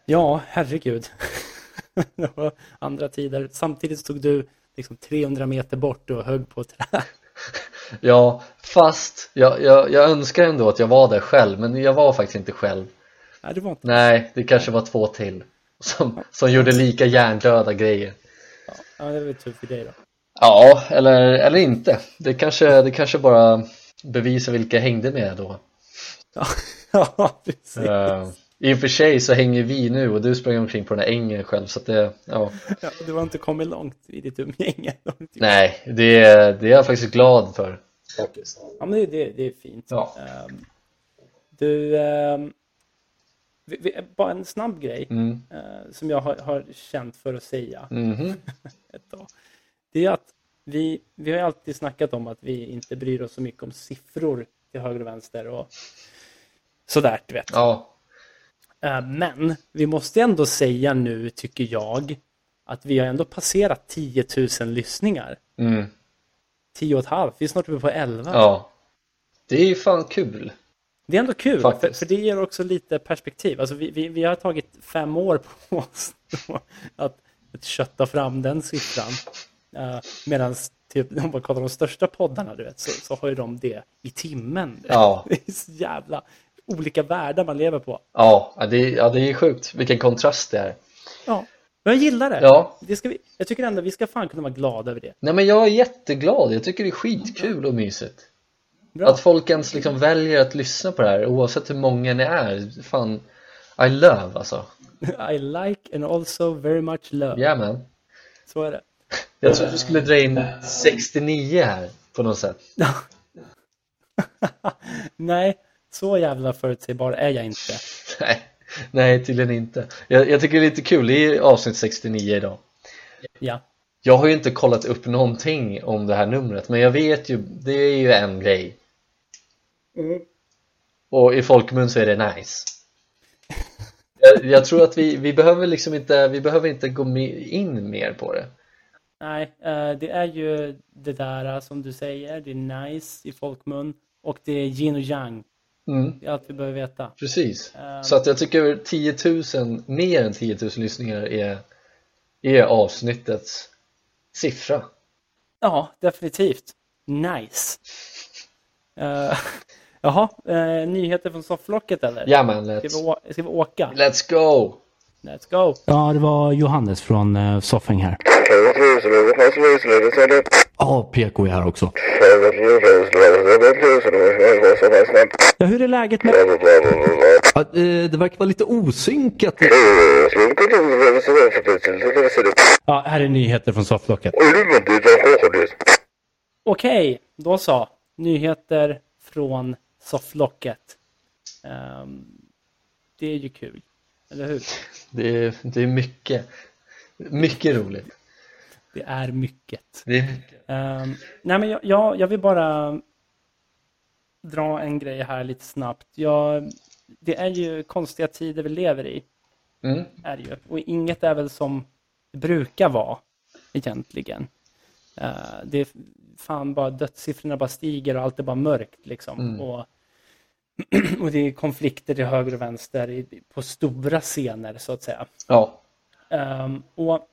Ja, herregud. det var andra tider. Samtidigt stod du liksom 300 meter bort och högg på trä.
Ja, fast jag, jag, jag önskar ändå att jag var där själv, men jag var faktiskt inte själv.
Nej, det var inte.
Nej, det kanske var två till som, som gjorde lika hjärndöda grejer.
Ja, det var väl tur för dig då.
Ja, eller, eller inte. Det kanske, det kanske bara bevisar vilka jag hängde med då.
Ja, ja precis.
Eh, I och för sig så hänger vi nu och du sprang omkring på den här ängen själv så att det, ja.
Ja, du har inte kommit långt i ditt umgänge.
Nej, det, det är jag faktiskt glad för. Faktiskt.
Ja, men det, det, det är fint.
Ja.
Ehm, du, ehm, vi, vi, bara en snabb grej
Mm.
eh, som jag har, har känt för att säga
Mhm.
ett tag. Det är att vi, vi har ju alltid snackat om att vi inte bryr oss så mycket om siffror till höger och vänster och sådär, du vet.
Ja,
Eh, Men vi måste ändå säga nu, tycker jag, att vi har ändå passerat 10 000 lyssningar.
mm.
10 och ett halvt, vi är snart uppe på 11.
ja. Det är ju fan kul.
Det är ändå kul, för,
Faktiskt.
för det ger också lite perspektiv. Alltså vi, vi, vi har tagit fem år på oss då att, att kötta fram den siffran. Uh, Medan typ, om man kollar de största poddarna, du vet, så, så har ju de det i timmen.
Ja.
Det är så jävla olika världar man lever på.
Ja, ja, det, är- ja, det är sjukt. Vilken kontrast det är.
Ja, men jag gillar det.
Ja.
det ska vi, jag tycker ändå vi ska fan kunna vara glada över det.
Nej men jag är jätteglad. Jag tycker det är skitkul och mysigt.
Bra.
Att folk ens liksom väljer att lyssna på det här oavsett hur många ni är. Fan, I love alltså.
I like and also very much love.
Yeah, man.
Så är det.
Jag trodde du skulle dra in 69 här på något sätt.
Nej, så jävla förutsägbar är jag inte.
Nej, nej tydligen inte. Jag, jag tycker det är lite kul, det är avsnitt 69 idag.
Ja,
Jag har ju inte kollat upp någonting om det här numret, men jag vet ju, det är ju en grej. Och i folkmun så är det nice. Jag, jag tror att vi, vi behöver liksom inte, vi behöver inte gå me- in mer på det.
nej, eh, det är ju det där eh, som du säger. Det är nice i folkmun och det är yin och yang.
Mm,
Det är allt vi behöver veta.
precis.
Eh,
Så att jag tycker 10 000, mer än 10 000 lyssningar är, är avsnittets siffra.
Ja, definitivt. Nice. Uh, jaha, eh, nyheter från sofflocket eller?
Ja man,
Ska vi,
let's,
å- ska vi åka?
let's go!
Let's go! Ja, det var Johannes från uh, Soffing här. Ja, PK är här också. Ja, hur är läget med...
Ja, eh, det verkar vara lite osynkat.
Ja, här är nyheter från Sofflocket. Okej, då så. Nyheter från Sofflocket. Ehm, det är ju kul, eller hur?
Det är, det är mycket, mycket roligt.
Det är mycket.
Det är mycket.
Ehm, nej, men jag, jag, jag vill bara dra en grej här lite snabbt. Jag, det är ju konstiga tider vi lever i.
Mm.
är det ju. Och inget är väl som det brukar vara egentligen. Eh, det är fan bara dödssiffrorna bara stiger och allt är bara mörkt liksom. Och, och det är konflikter till höger och vänster i, på stora scener så att säga.
Ja,
Ehm, och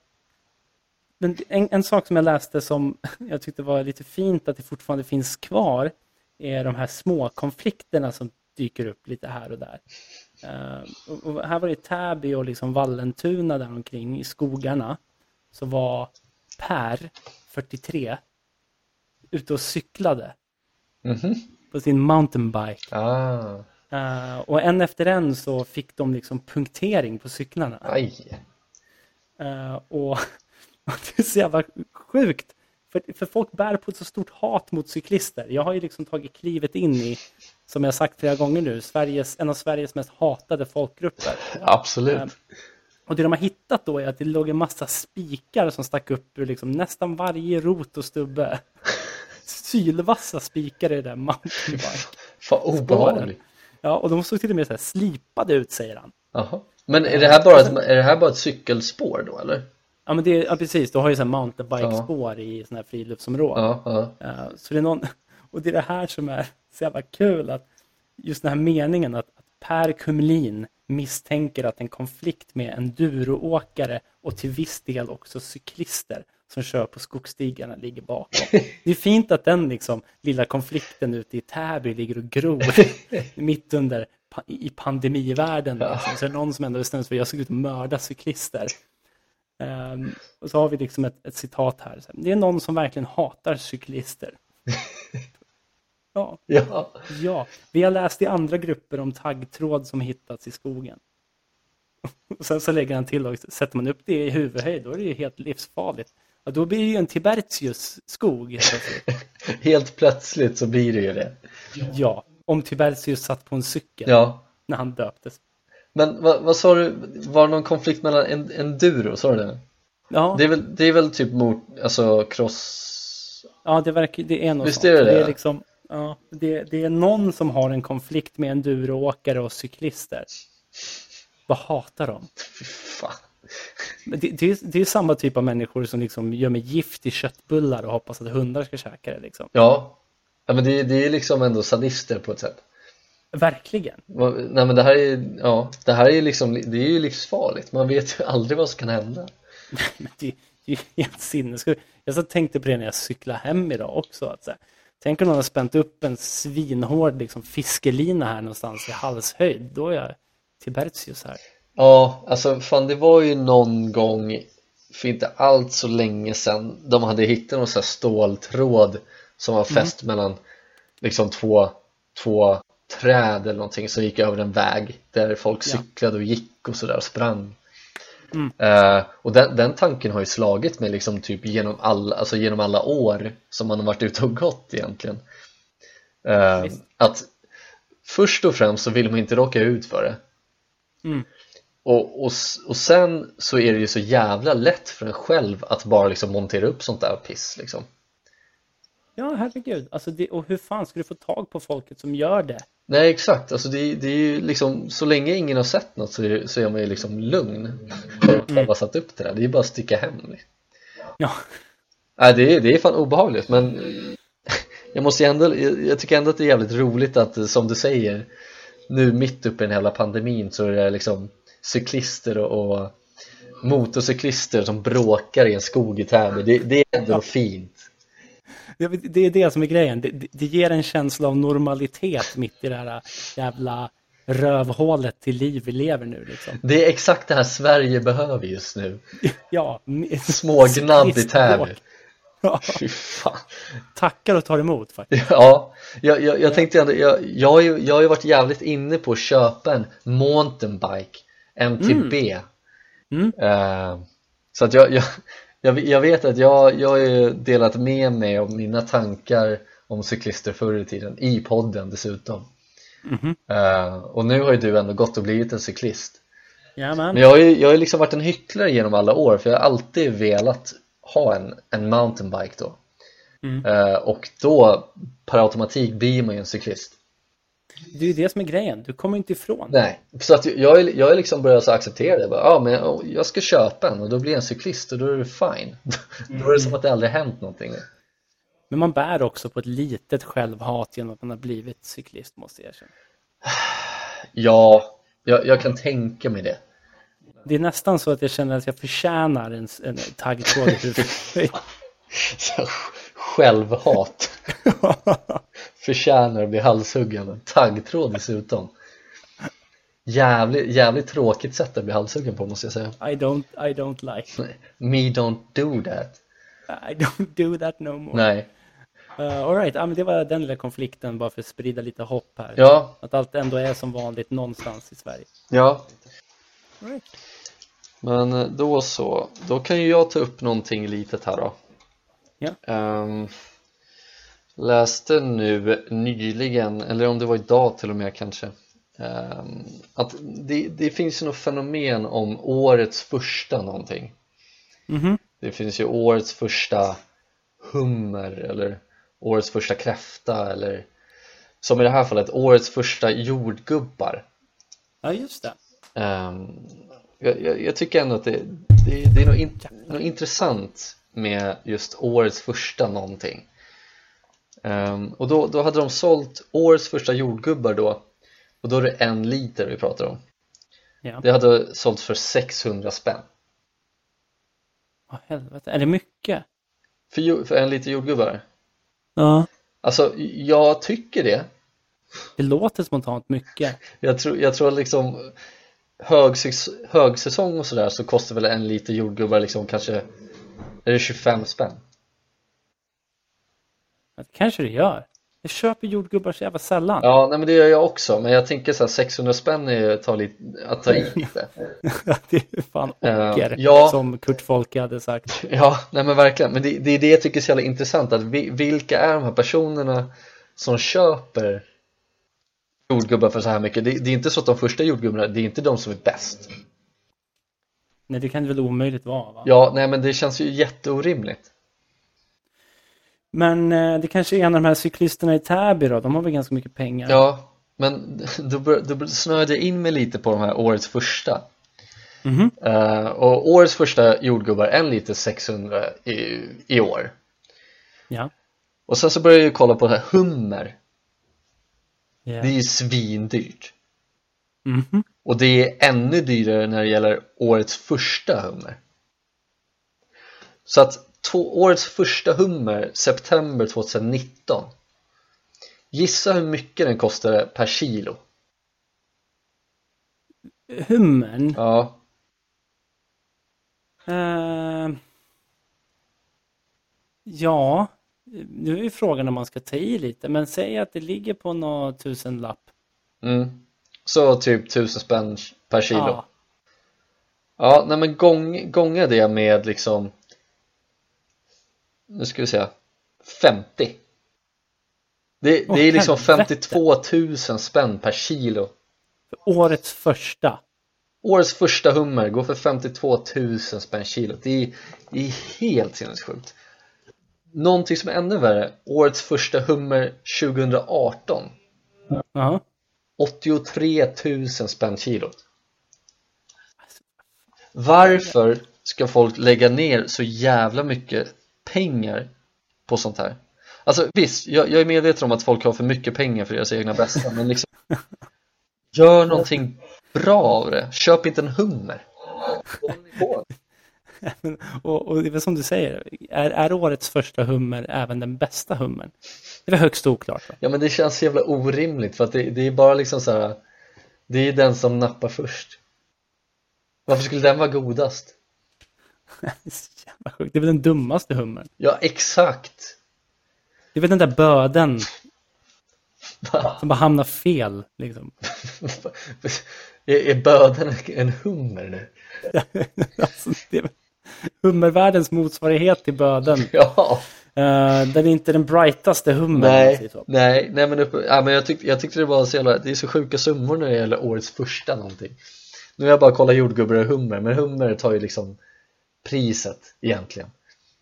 men en, en sak som jag läste som jag tyckte var lite fint att det fortfarande finns kvar är de här små konflikterna som dyker upp lite här och där. Ehm, och, och här var det Täby och liksom Vallentuna där omkring i skogarna. Så var Per, 43, ute och cyklade
mhm,
på sin mountainbike.
ah,
Ehm, och en efter en så fick de liksom punktering på cyklarna.
aj,
Eh, och, och det är så jävla sjukt. För, för folk bär på ett så stort hat mot cyklister. Jag har ju liksom tagit klivet in i, som jag sagt flera gånger nu, Sveriges, en av Sveriges mest hatade folkgrupper.
absolut.
Och det de har hittat då är att det låg en massa spikar som stack upp ur liksom nästan varje rot och stubbe. Sylvassa spikar i det där mountainbike.
Fan obehagligt.
Ja, och de såg till och med så här slipade ut, säger han.
Jaha. Men är det, här bara ett, är det här bara ett cykelspår då eller?
Ja, Ja, men det, är- ja precis. Du har ju så här mountainbike-spår i sådana här friluftsområden.
Ja, ja.
Eh, Så det är någon, och det är det här som är så jävla kul. Att just den här meningen att, att Per Kumlin misstänker att en konflikt med enduroåkare och till viss del också cyklister som kör på skogsstigarna ligger bakom. Det är fint att den liksom, lilla konflikten ute i Täby ligger och gror mitt under pa- i pandemivärlden. Liksom. Så är det någon som ändå bestämmer sig för att jag ska gå ut och mörda cyklister. Ehm, och så har vi liksom ett, ett citat här. Så här, Det är någon som verkligen hatar cyklister. ja,
ja.
ja. Vi har läst i andra grupper om taggtråd som hittats i skogen. Och sen så lägger han till och sätter man upp det i huvudhöjd, då är det ju helt livsfarligt. Ja, då blir det ju en Tibertius-skog. helt plötsligt.
Helt plötsligt så blir det ju det.
ja, om Tibertius satt på en cykel
Ja.
när han döptes.
Men vad, vad sa du, var det någon konflikt mellan en- enduro, sa du det?
Ja, det,
Det är väl, det är väl typ mot, alltså cross...
ja, det, verkar, det är något
Visst
sånt.
är det
det,
det?
är liksom, ja, det, det är någon som har en konflikt med enduroåkare och cyklister. Vad hatar de?
Fy fan.
Men Det, det, är, det är samma typ av människor som liksom gör med gift i köttbullar och hoppas att hundar ska käka det. Liksom.
Ja. ja, men det, det är liksom ändå sadister på ett sätt.
Verkligen.
Vad- Nej men det här är, ja, det här är liksom, det är ju livsfarligt. Man vet ju aldrig vad som kan hända.
Men det, det är ju helt sinnessjukt. Jag så tänkte på det när jag cyklade hem idag också. Att så här, tänk om någon har spänt upp en svinhård liksom, fiskelina här någonstans i halshöjd. Då är jag Tibertius här.
Ja, alltså fan det var ju någon gång för inte allt så länge sedan de hade hittat någon sån här ståltråd som
Mhm.
var fäst mellan liksom två, två träd eller någonting som gick över en väg där folk
Ja. Mm.
cyklade och gick och sådär och sprang. Eh, och den, den tanken har ju slagit mig liksom typ genom alla, alltså genom alla år som man har varit ute och gått egentligen. Eh,
Visst.
att först och främst så vill man inte råka ut för det.
Mm.
Och, och, s- och sen så är det ju så jävla lätt för en själv att bara liksom montera upp sånt där piss liksom.
Ja, herregud. Alltså det, och hur fan ska du få tag på folket som gör det?
Nej exakt, alltså det, det är ju liksom så länge ingen har sett något så är, så är man ju liksom lugn. Mm. har satt upp det där, det är ju bara att sticka hem.
Ja,
Nej, det, är, det är fan obehagligt men jag måste ju ändå, jag, jag tycker ändå att det är jävligt roligt att eh, som du säger nu mitt uppe i den hela pandemin så är det liksom cyklister och, och motorcyklister som bråkar i en skog i Täby. Det, det är ändå fint.
det, det är det som är grejen. Det, det, det ger en känsla av normalitet mitt i det här jävla rövhålet till liv vi lever nu. Liksom.
Det är exakt det här Sverige behöver just nu.
Ja, m-
Smågnabb i
cyklistbråk.
Täby.
Ja,
Fy fan.
tackar och tar emot faktiskt.
Ja, jag, jag, jag tänkte ändå, jag, jag, har ju, jag har ju varit jävligt inne på att köpa en mountainbike, MTB.
Mm.
Eh, så att jag, jag, jag, jag vet att jag, jag har ju delat med mig av mina tankar om cyklister förr i tiden, i podden dessutom. Eh, och nu har ju du ändå gått och blivit en cyklist.
Jajamän.
Men jag har ju jag har ju liksom varit en hycklare genom alla år för jag har alltid velat ha en, en mountainbike då
Mm.
Eh, och då per automatik blir man ju en cyklist
Det är ju det som är grejen. Du kommer inte ifrån.
Nej, så att jag har jag har liksom börjat så acceptera det bara, ja men jag, jag ska köpa en och då blir jag en cyklist och då är det fine Då är det som att det aldrig hänt någonting
Men man bär också på ett litet självhat genom att man har blivit cyklist, måste jag erkänna.
Ja, jag, jag kan tänka mig det
Det är nästan så att jag känner att jag förtjänar en, en taggtråd i huvudet.
Så, Självhat Förtjänar att bli halshuggen av en Taggtråd dessutom Jävligt, jävligt tråkigt sätt att bli halshuggen på måste jag säga
I don't, I don't like.
Me don't do that
I don't do that no more.
Nej,
Uh, all right, ja, men det var den lilla konflikten bara för att sprida lite hopp här.
ja,
Att allt ändå är som vanligt någonstans i Sverige.
ja
All right.
Men eh, då så, då kan ju jag ta upp någonting litet här då
Ja.
Ehm, Läste nu nyligen, eller om det var idag till och med kanske ehm, Att det, det finns ju något fenomen om årets första någonting
Mhm.
Det finns ju årets första hummer eller årets första kräfta eller som i det här fallet årets första jordgubbar.
Ja, just det.
Ehm, Jag, jag, jag tycker ändå att det, det, det är något, in, något intressant med just årets första någonting. Ehm, och då, då hade de sålt årets första jordgubbar då och då är det en liter vi pratar om.
Ja.
Det hade sålts för 600 spänn.
Åh, helvete. Är det mycket?
För, ju- för en liter jordgubbar?
Ja.
Alltså, jag tycker det.
Det låter spontant mycket.
Jag tror, jag tror liksom högsäs högsäsong och sådär så kostar väl en liter jordgubbar liksom kanske är det 25 spänn?
Men Det kanske det gör. Jag köper jordgubbar så jävla sällan.
Ja, nej men det gör jag också men jag tänker så här 600 spänn är ju att ta, lite, att ta i lite.
det är ju fan
Eh,
ocker,
ja.
som Kurt Folke hade sagt.
Ja, nej men verkligen. Men det, det är det jag tycker är så jävla intressant att vi, vilka är de här personerna som köper jordgubbar för så här mycket? Det, det är inte så att de första jordgubbarna, det är inte de som är bäst.
Nej, det kan det väl omöjligt vara? Va?
Ja, nej men det känns ju jätteorimligt.
Men eh, det kanske är en av de här cyklisterna i Täby då. De har väl ganska mycket pengar?
Ja, men då, bör- då snöade jag in mig lite på de här årets första.
Mhm.
Eh, och årets första jordgubbar, en liter 600 i, i år.
Ja.
Och sen så började jag ju kolla på det här hummer,
Ja.
det är ju svindyrt.
Mhm.
Och det är ännu dyrare när det gäller årets första hummer. Så att två, årets första hummer, september 2019. Gissa hur mycket den kostade per kilo?
Hummern?
Ja,
Eh, ja, nu är ju frågan om man ska ta i lite. Men säg att det ligger på någon tusenlapp.
mm. så typ 1000 spänn per kilo.
Ja.
Ja, nej men gång, gånga det med liksom Nu ska vi säga 50 Det,
Åh,
det är liksom
helvete.
52 000 spänn per kilo
Årets första.
Årets första hummer går för 52 000 spänn kilo Det är, det är helt sinnessjukt Någonting som är ännu värre Årets första hummer 2018
Jaha.
83 000 spänn kilo Varför ska folk lägga ner så jävla mycket pengar på sånt här? Alltså visst, jag, jag är medveten om att folk har för mycket pengar för deras egna bästa men liksom Gör någonting bra av det, köp inte en hummer
Men, och, och det är väl som du säger, är, är årets första hummer även den bästa hummern? Det är väl högst oklart. Va?
Ja men det känns så jävla orimligt för att det, det är bara liksom så här. Det är den som nappar först Varför skulle den vara godast?
Det är så jävla sjukt. Det är väl den dummaste hummern.
Ja exakt!
Det är väl den där böden som bara hamnar fel. Liksom.
är, är böden en hummer nu?
Alltså, det är väl hummervärldens motsvarighet till böden.
Ja!
Uh, den är inte den brightaste hummern. om man
Nej,
säger så.
nej, nej men, uppe, ja, men jag, tyck, jag tyckte det var så jävla, det är så sjuka summor när det gäller årets första någonting Nu har jag bara kollat jordgubbar och hummer, men hummer tar ju liksom priset egentligen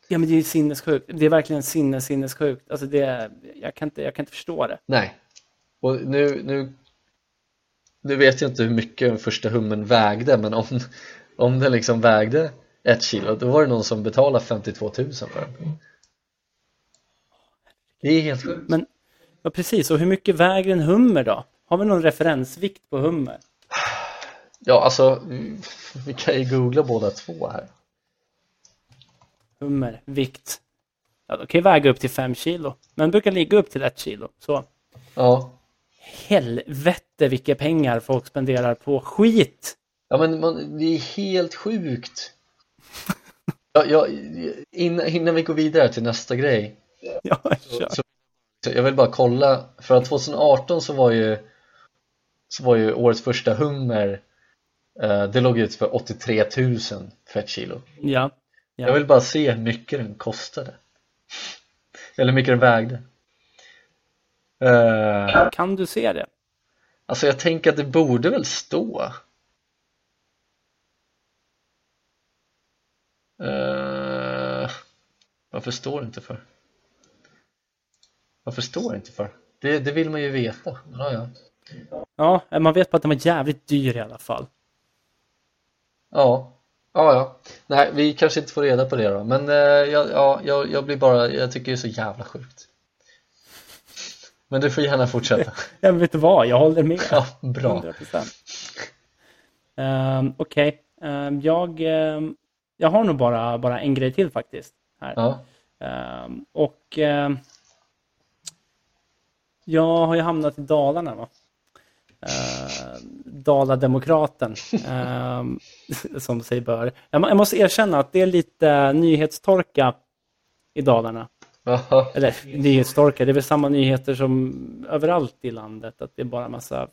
Ja, men det är ju sinnessjukt. Det är verkligen sinnes, sinnessjukt. Alltså, det är, jag, kan inte, jag kan inte förstå det.
Nej, och nu, nu, nu vet jag inte hur mycket den första hummen vägde men om, om den liksom vägde ett kilo då var det någon som betalade 52 000 för den Det är helt sjukt
Men ja, precis, och hur mycket väger en hummer då? Har vi någon referensvikt på hummer?
Ja alltså, vi kan ju googla båda två här
Hummer, vikt. Ja, de kan ju väga upp till 5 kilo. Men brukar ligga upp till 1 kilo. Så
Ja,
helvete vilka pengar folk spenderar på skit.
Ja men man, det är helt sjukt ja, jag, innan, innan vi går vidare till nästa grej
Ja, kör.
så Jag vill bara kolla, för att 2018 så var ju Så var ju årets första hummer eh, Det låg ut för 83 000 för ett kilo
ja.
Jag vill bara se hur mycket den kostade Eller hur mycket den vägde Eh,
Kan du se det?
Alltså jag tänker att det borde väl stå Eh, Varför står det inte för? Varför står det inte för? Det, det vill man ju veta ja, ja.
Ja, man vet bara att den var jävligt dyr i alla fall.
Ja, ja, ja. Nej, vi kanske inte får reda på det då, men eh, jag, ja, jag, jag blir bara, jag tycker det är så jävla sjukt. Men du får gärna fortsätta.
Jag vet du vad, jag håller med.
Ja, bra.
100%. Um, Okej, Ehm, jag, ehm, jag har nog bara, bara en grej till faktiskt. Här.
Ja,
Ehm, och ehm, jag har ju hamnat i Dalarna. Va? Ehm, Dalademokraten, ehm, som sig bör. Jag, må- jag måste erkänna att det är lite nyhetstorka i Dalarna.
Jaha.
Eller nyhetstorka, det är väl samma nyheter som överallt i landet. Att det är bara massa,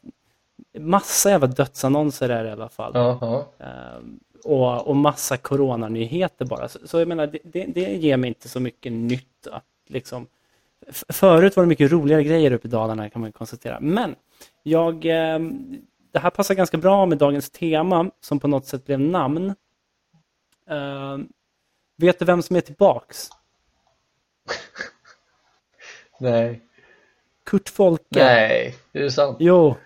massa jävla dödsannonser är det i alla fall.
ja, ja.
Eh, och, och massa coronanyheter bara. Så, så jag menar, det, det, det ger mig inte så mycket nytt att liksom... F- förut var det mycket roligare grejer uppe i Dalarna kan man ju konstatera. Men jag... Eh, det här passar ganska bra med dagens tema som på något sätt blev namn. Eh, vet du vem som är tillbaks?
Nej,
Kurt Folke.
nej, är det sant?
Jo,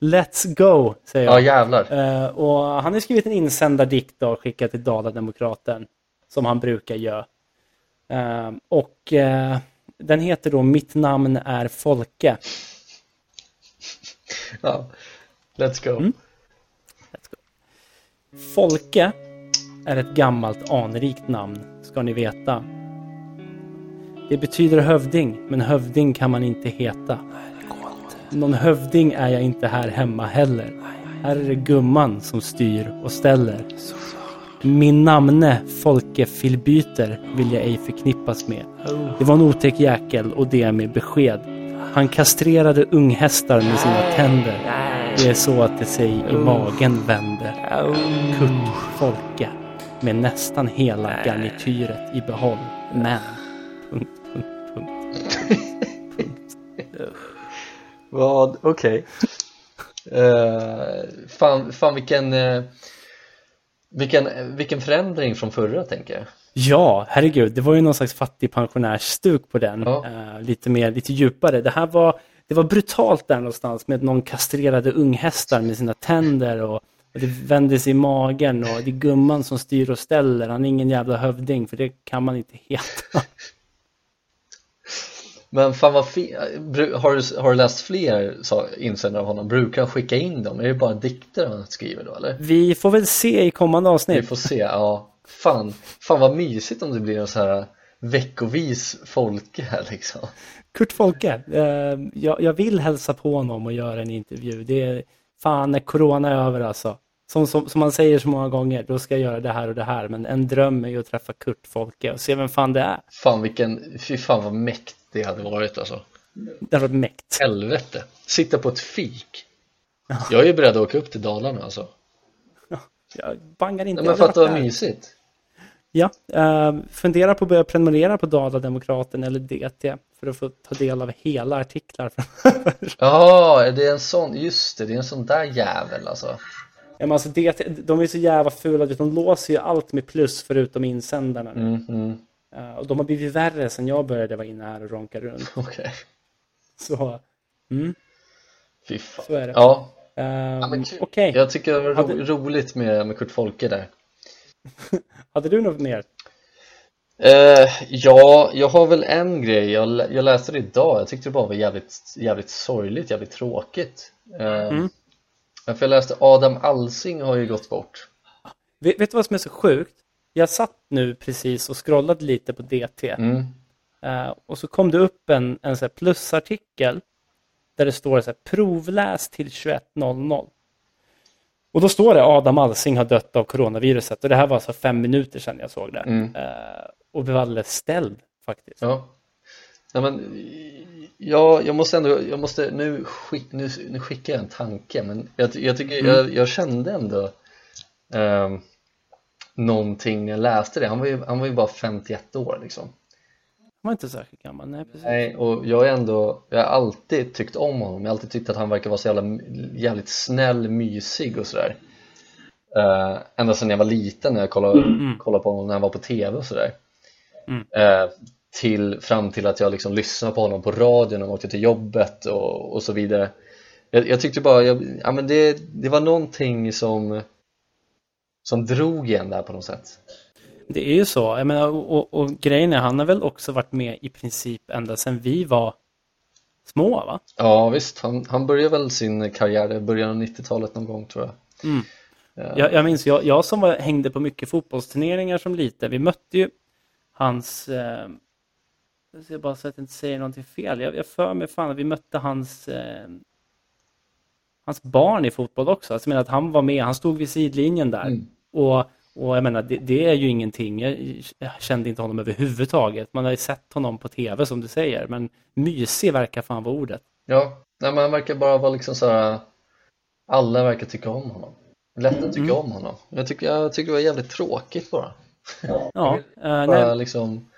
let's go, säger jag.
Ja, jävlar.
Eh, och han har skrivit en insändardikt då, och skickat till Dala-demokraten som han brukar göra. Eh, och eh, den heter då Mitt namn är Folke.
Ja. Let's go.
Let's go. Folke är ett gammalt anrikt namn, ska ni veta. Det betyder hövding, men hövding kan man inte heta. Någon hövding är jag inte här hemma heller. Här är det gumman som styr och ställer. Min namne Folke Filbyter vill jag ej förknippas med. Det var en otäck jäkel och det med besked. Han kastrerade unghästar med sina tänder. Det är så att det sig i magen vänder. Kurt Folke. Med nästan hela garnityret i behåll. Men... Punkt, punkt, punkt.
Vad, okej. Eh, fan, fan vilken, eh, vilken, vilken förändring från förra tänker jag.
Ja, herregud. Det var ju någon slags fattig pensionärsstuk på den.
Ja.
Eh, lite mer, lite djupare. Det här var, det var brutalt där någonstans med någon kastrerade unghästar med sina tänder och, och det vände sig i magen och det är gumman som styr och ställer. Han är ingen jävla hövding för det kan man inte heta.
Men fan vad fe- bru- har, du, har du läst fler sa- insändare av honom? Brukar han skicka in dem? Är det bara dikter han skriver då eller?
Vi får väl se i kommande
Vi
avsnitt.
får se, ja. Fan, fan vad mysigt om det blir en så här veckovis Folke här liksom.
Kurt Folke, eh, jag, jag vill hälsa på honom och göra en intervju. Det är fan när corona är över alltså. Som, som, som man säger så många gånger, då ska jag göra det här och det här. Men en dröm är ju att träffa Kurt Folke och se vem fan det är.
Fan vilken, fy fan vad mäktigt det hade varit alltså.
Det hade varit mäkt.
Helvete, sitta på ett fik. Jag är ju beredd att åka upp till Dalarna alltså.
Jag bangar inte.
Nej,
jag
men
hade
fatta
varit
vad
där.
mysigt.
Ja, eh, fundera på att börja prenumerera på Dala-Demokraten eller DT för att få ta del av hela artiklar. framöver.
Jaha, är det är en sån, just det, det är en sån där jävel alltså.
Ja, men alltså DT, de är så jävla fula, du vet, de låser ju allt med plus förutom insändarna. nu.
Mm, mm,
Eh, och de har blivit värre sen jag började vara inne här och ronka runt.
okej.
Så, mm,
Fy fan.
så är det.
Ja,
Ehm,
men kul.
Okej,
jag tycker det var ro-
Hade-
roligt med, med Kurt Folke där.
hade du något mer?
Eh, ja, jag har väl en grej. Jag, lä- jag läste det idag. Jag tyckte det bara var jävligt, jävligt sorgligt, jävligt tråkigt. Eh,
Mm.
För jag läste Adam Alsing har ju gått bort.
Vet, vet du vad som är så sjukt? Jag satt nu precis och scrollade lite på DT
Mm.
eh, och så kom det upp en, en så här plusartikel där det står så här, provläs till 21.00. Och då står det Adam Alsing har dött av coronaviruset och det här var alltså fem minuter sedan jag såg det.
Mm.
Eh, och blev alldeles ställd faktiskt.
Ja. Nej, men, jag, jag måste ändå, jag måste, nu, skick, nu, nu skickar jag en tanke, men jag, ty- jag, tycker, jag, jag kände ändå um, någonting när jag läste det. Han var ju, han var ju bara 51 år liksom.
Han var inte särskilt gammal. Nej, precis.
Nej, och jag är ändå, jag har alltid tyckt om honom. Jag har alltid tyckt att han verkar vara så jävla, jävligt snäll, mysig och sådär. Uh, ända sedan jag var liten när jag kollade, kollade på honom när han var på TV och sådär.
Mm.
Eh, till, fram till att jag liksom lyssnade på honom på radion när jag åkte till jobbet och, och så vidare. Jag, jag tyckte bara, jag, ja, men det, det var någonting som Som drog igen där på något sätt.
Det är ju så. Jag menar, och, och grejen är, han har väl också varit med i princip ända sedan vi var små, va?
Ja visst, han, han började väl sin karriär i början av 90-talet någon gång tror jag.
Mm. Jag, jag minns, jag, jag som var, hängde på mycket fotbollsturneringar som liten, vi mötte ju hans... Eh, jag ska bara så att jag inte säger någonting fel. Jag, jag för mig fan att vi mötte hans... Eh, hans barn i fotboll också. Alltså, jag menar att han var med, han stod vid sidlinjen där.
Mm.
Och, och jag menar, det, det är ju ingenting. Jag, jag kände inte honom överhuvudtaget. Man har ju sett honom på tv som du säger, men mysig verkar fan vara ordet.
Ja, nej, men han verkar bara vara liksom så här. Alla verkar tycka om honom. Lätt att tycka om honom. Jag tycker, jag tycker det var jävligt tråkigt bara.
Ja, eh, nej,
Bara liksom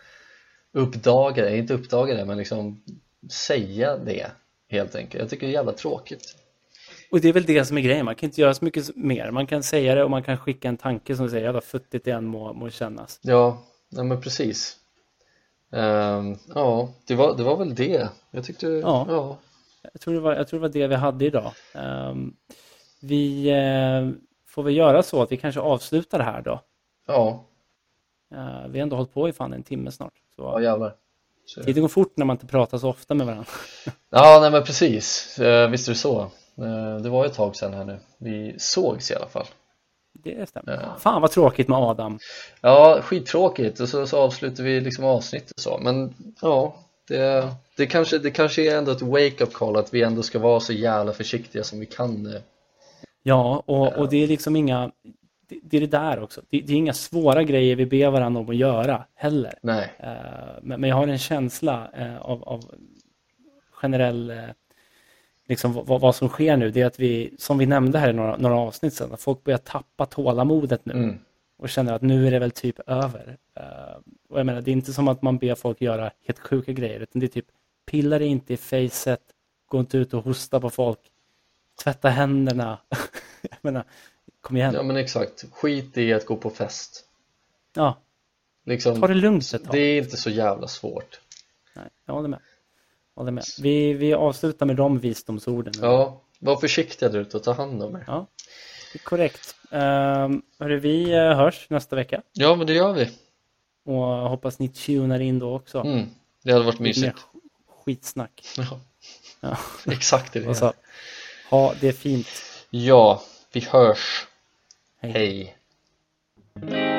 uppdaga det, inte uppdaga det men liksom säga det helt enkelt. Jag tycker det är jävla tråkigt.
Och det är väl det som är grejen, man kan inte göra så mycket mer. Man kan säga det och man kan skicka en tanke som säger jävla futtigt det än må, må kännas.
Ja, nej men precis. Ehm, ja, det var, det var väl det. Jag tyckte,
Ja.
ja. ja.
Jag tror det var, jag tror det, var det vi hade idag. Ehm, vi eh, får väl göra så att vi kanske avslutar det här då.
Ja,
Eh, vi har ändå hållit på i fan en timme snart. Så
jävlar. Så-
tiden går fort när man inte pratar så ofta med varandra.
Ja, nej men precis. Eh, Visst är det så. Eh, Det var ju ett tag sedan här nu. Vi sågs i alla fall.
Det stämmer. Fan vad tråkigt med Adam.
Ja, skittråkigt och så, så avslutar vi liksom avsnittet så. Men ja, det, det, kanske, det kanske är ändå ett wake-up call att vi ändå ska vara så jävla försiktiga som vi kan nu.
Ja, och, och det är liksom inga... Det, det är det där också. Det, det är inga svåra grejer vi ber varandra om att göra heller.
Nej,
Eh, men, men jag har en känsla eh, av, av generell, eh, liksom vad, vad som sker nu, det är att vi, som vi nämnde här i några, några avsnitt sedan, att folk börjar tappa tålamodet nu
Mm.
och känner att nu är det väl typ över. Eh, och jag menar, det är inte som att man ber folk göra helt sjuka grejer, utan det är typ pilla dig inte i facet, gå inte ut och hosta på folk, tvätta händerna. jag menar, kom igen.
ja men exakt. Skit i att gå på fest.
Ja,
Liksom,
ta det lugnt ett tag.
det är inte så jävla svårt.
Nej, jag håller med. Jag håller med. Vi, vi avslutar med de visdomsorden.
Ja, var försiktiga där ute och ta hand om er.
Ja, det är korrekt. Um, hörru, vi eh, hörs nästa vecka
Ja, men det gör vi.
och hoppas ni tunar in då också.
Mm. Det hade varit
Lite mer
mysigt.
sk- skitsnack.
Ja,
Ja.
exakt det vi
Och
gör.
så, ha det fint.
Ja, vi hörs.
Hej.
Hej.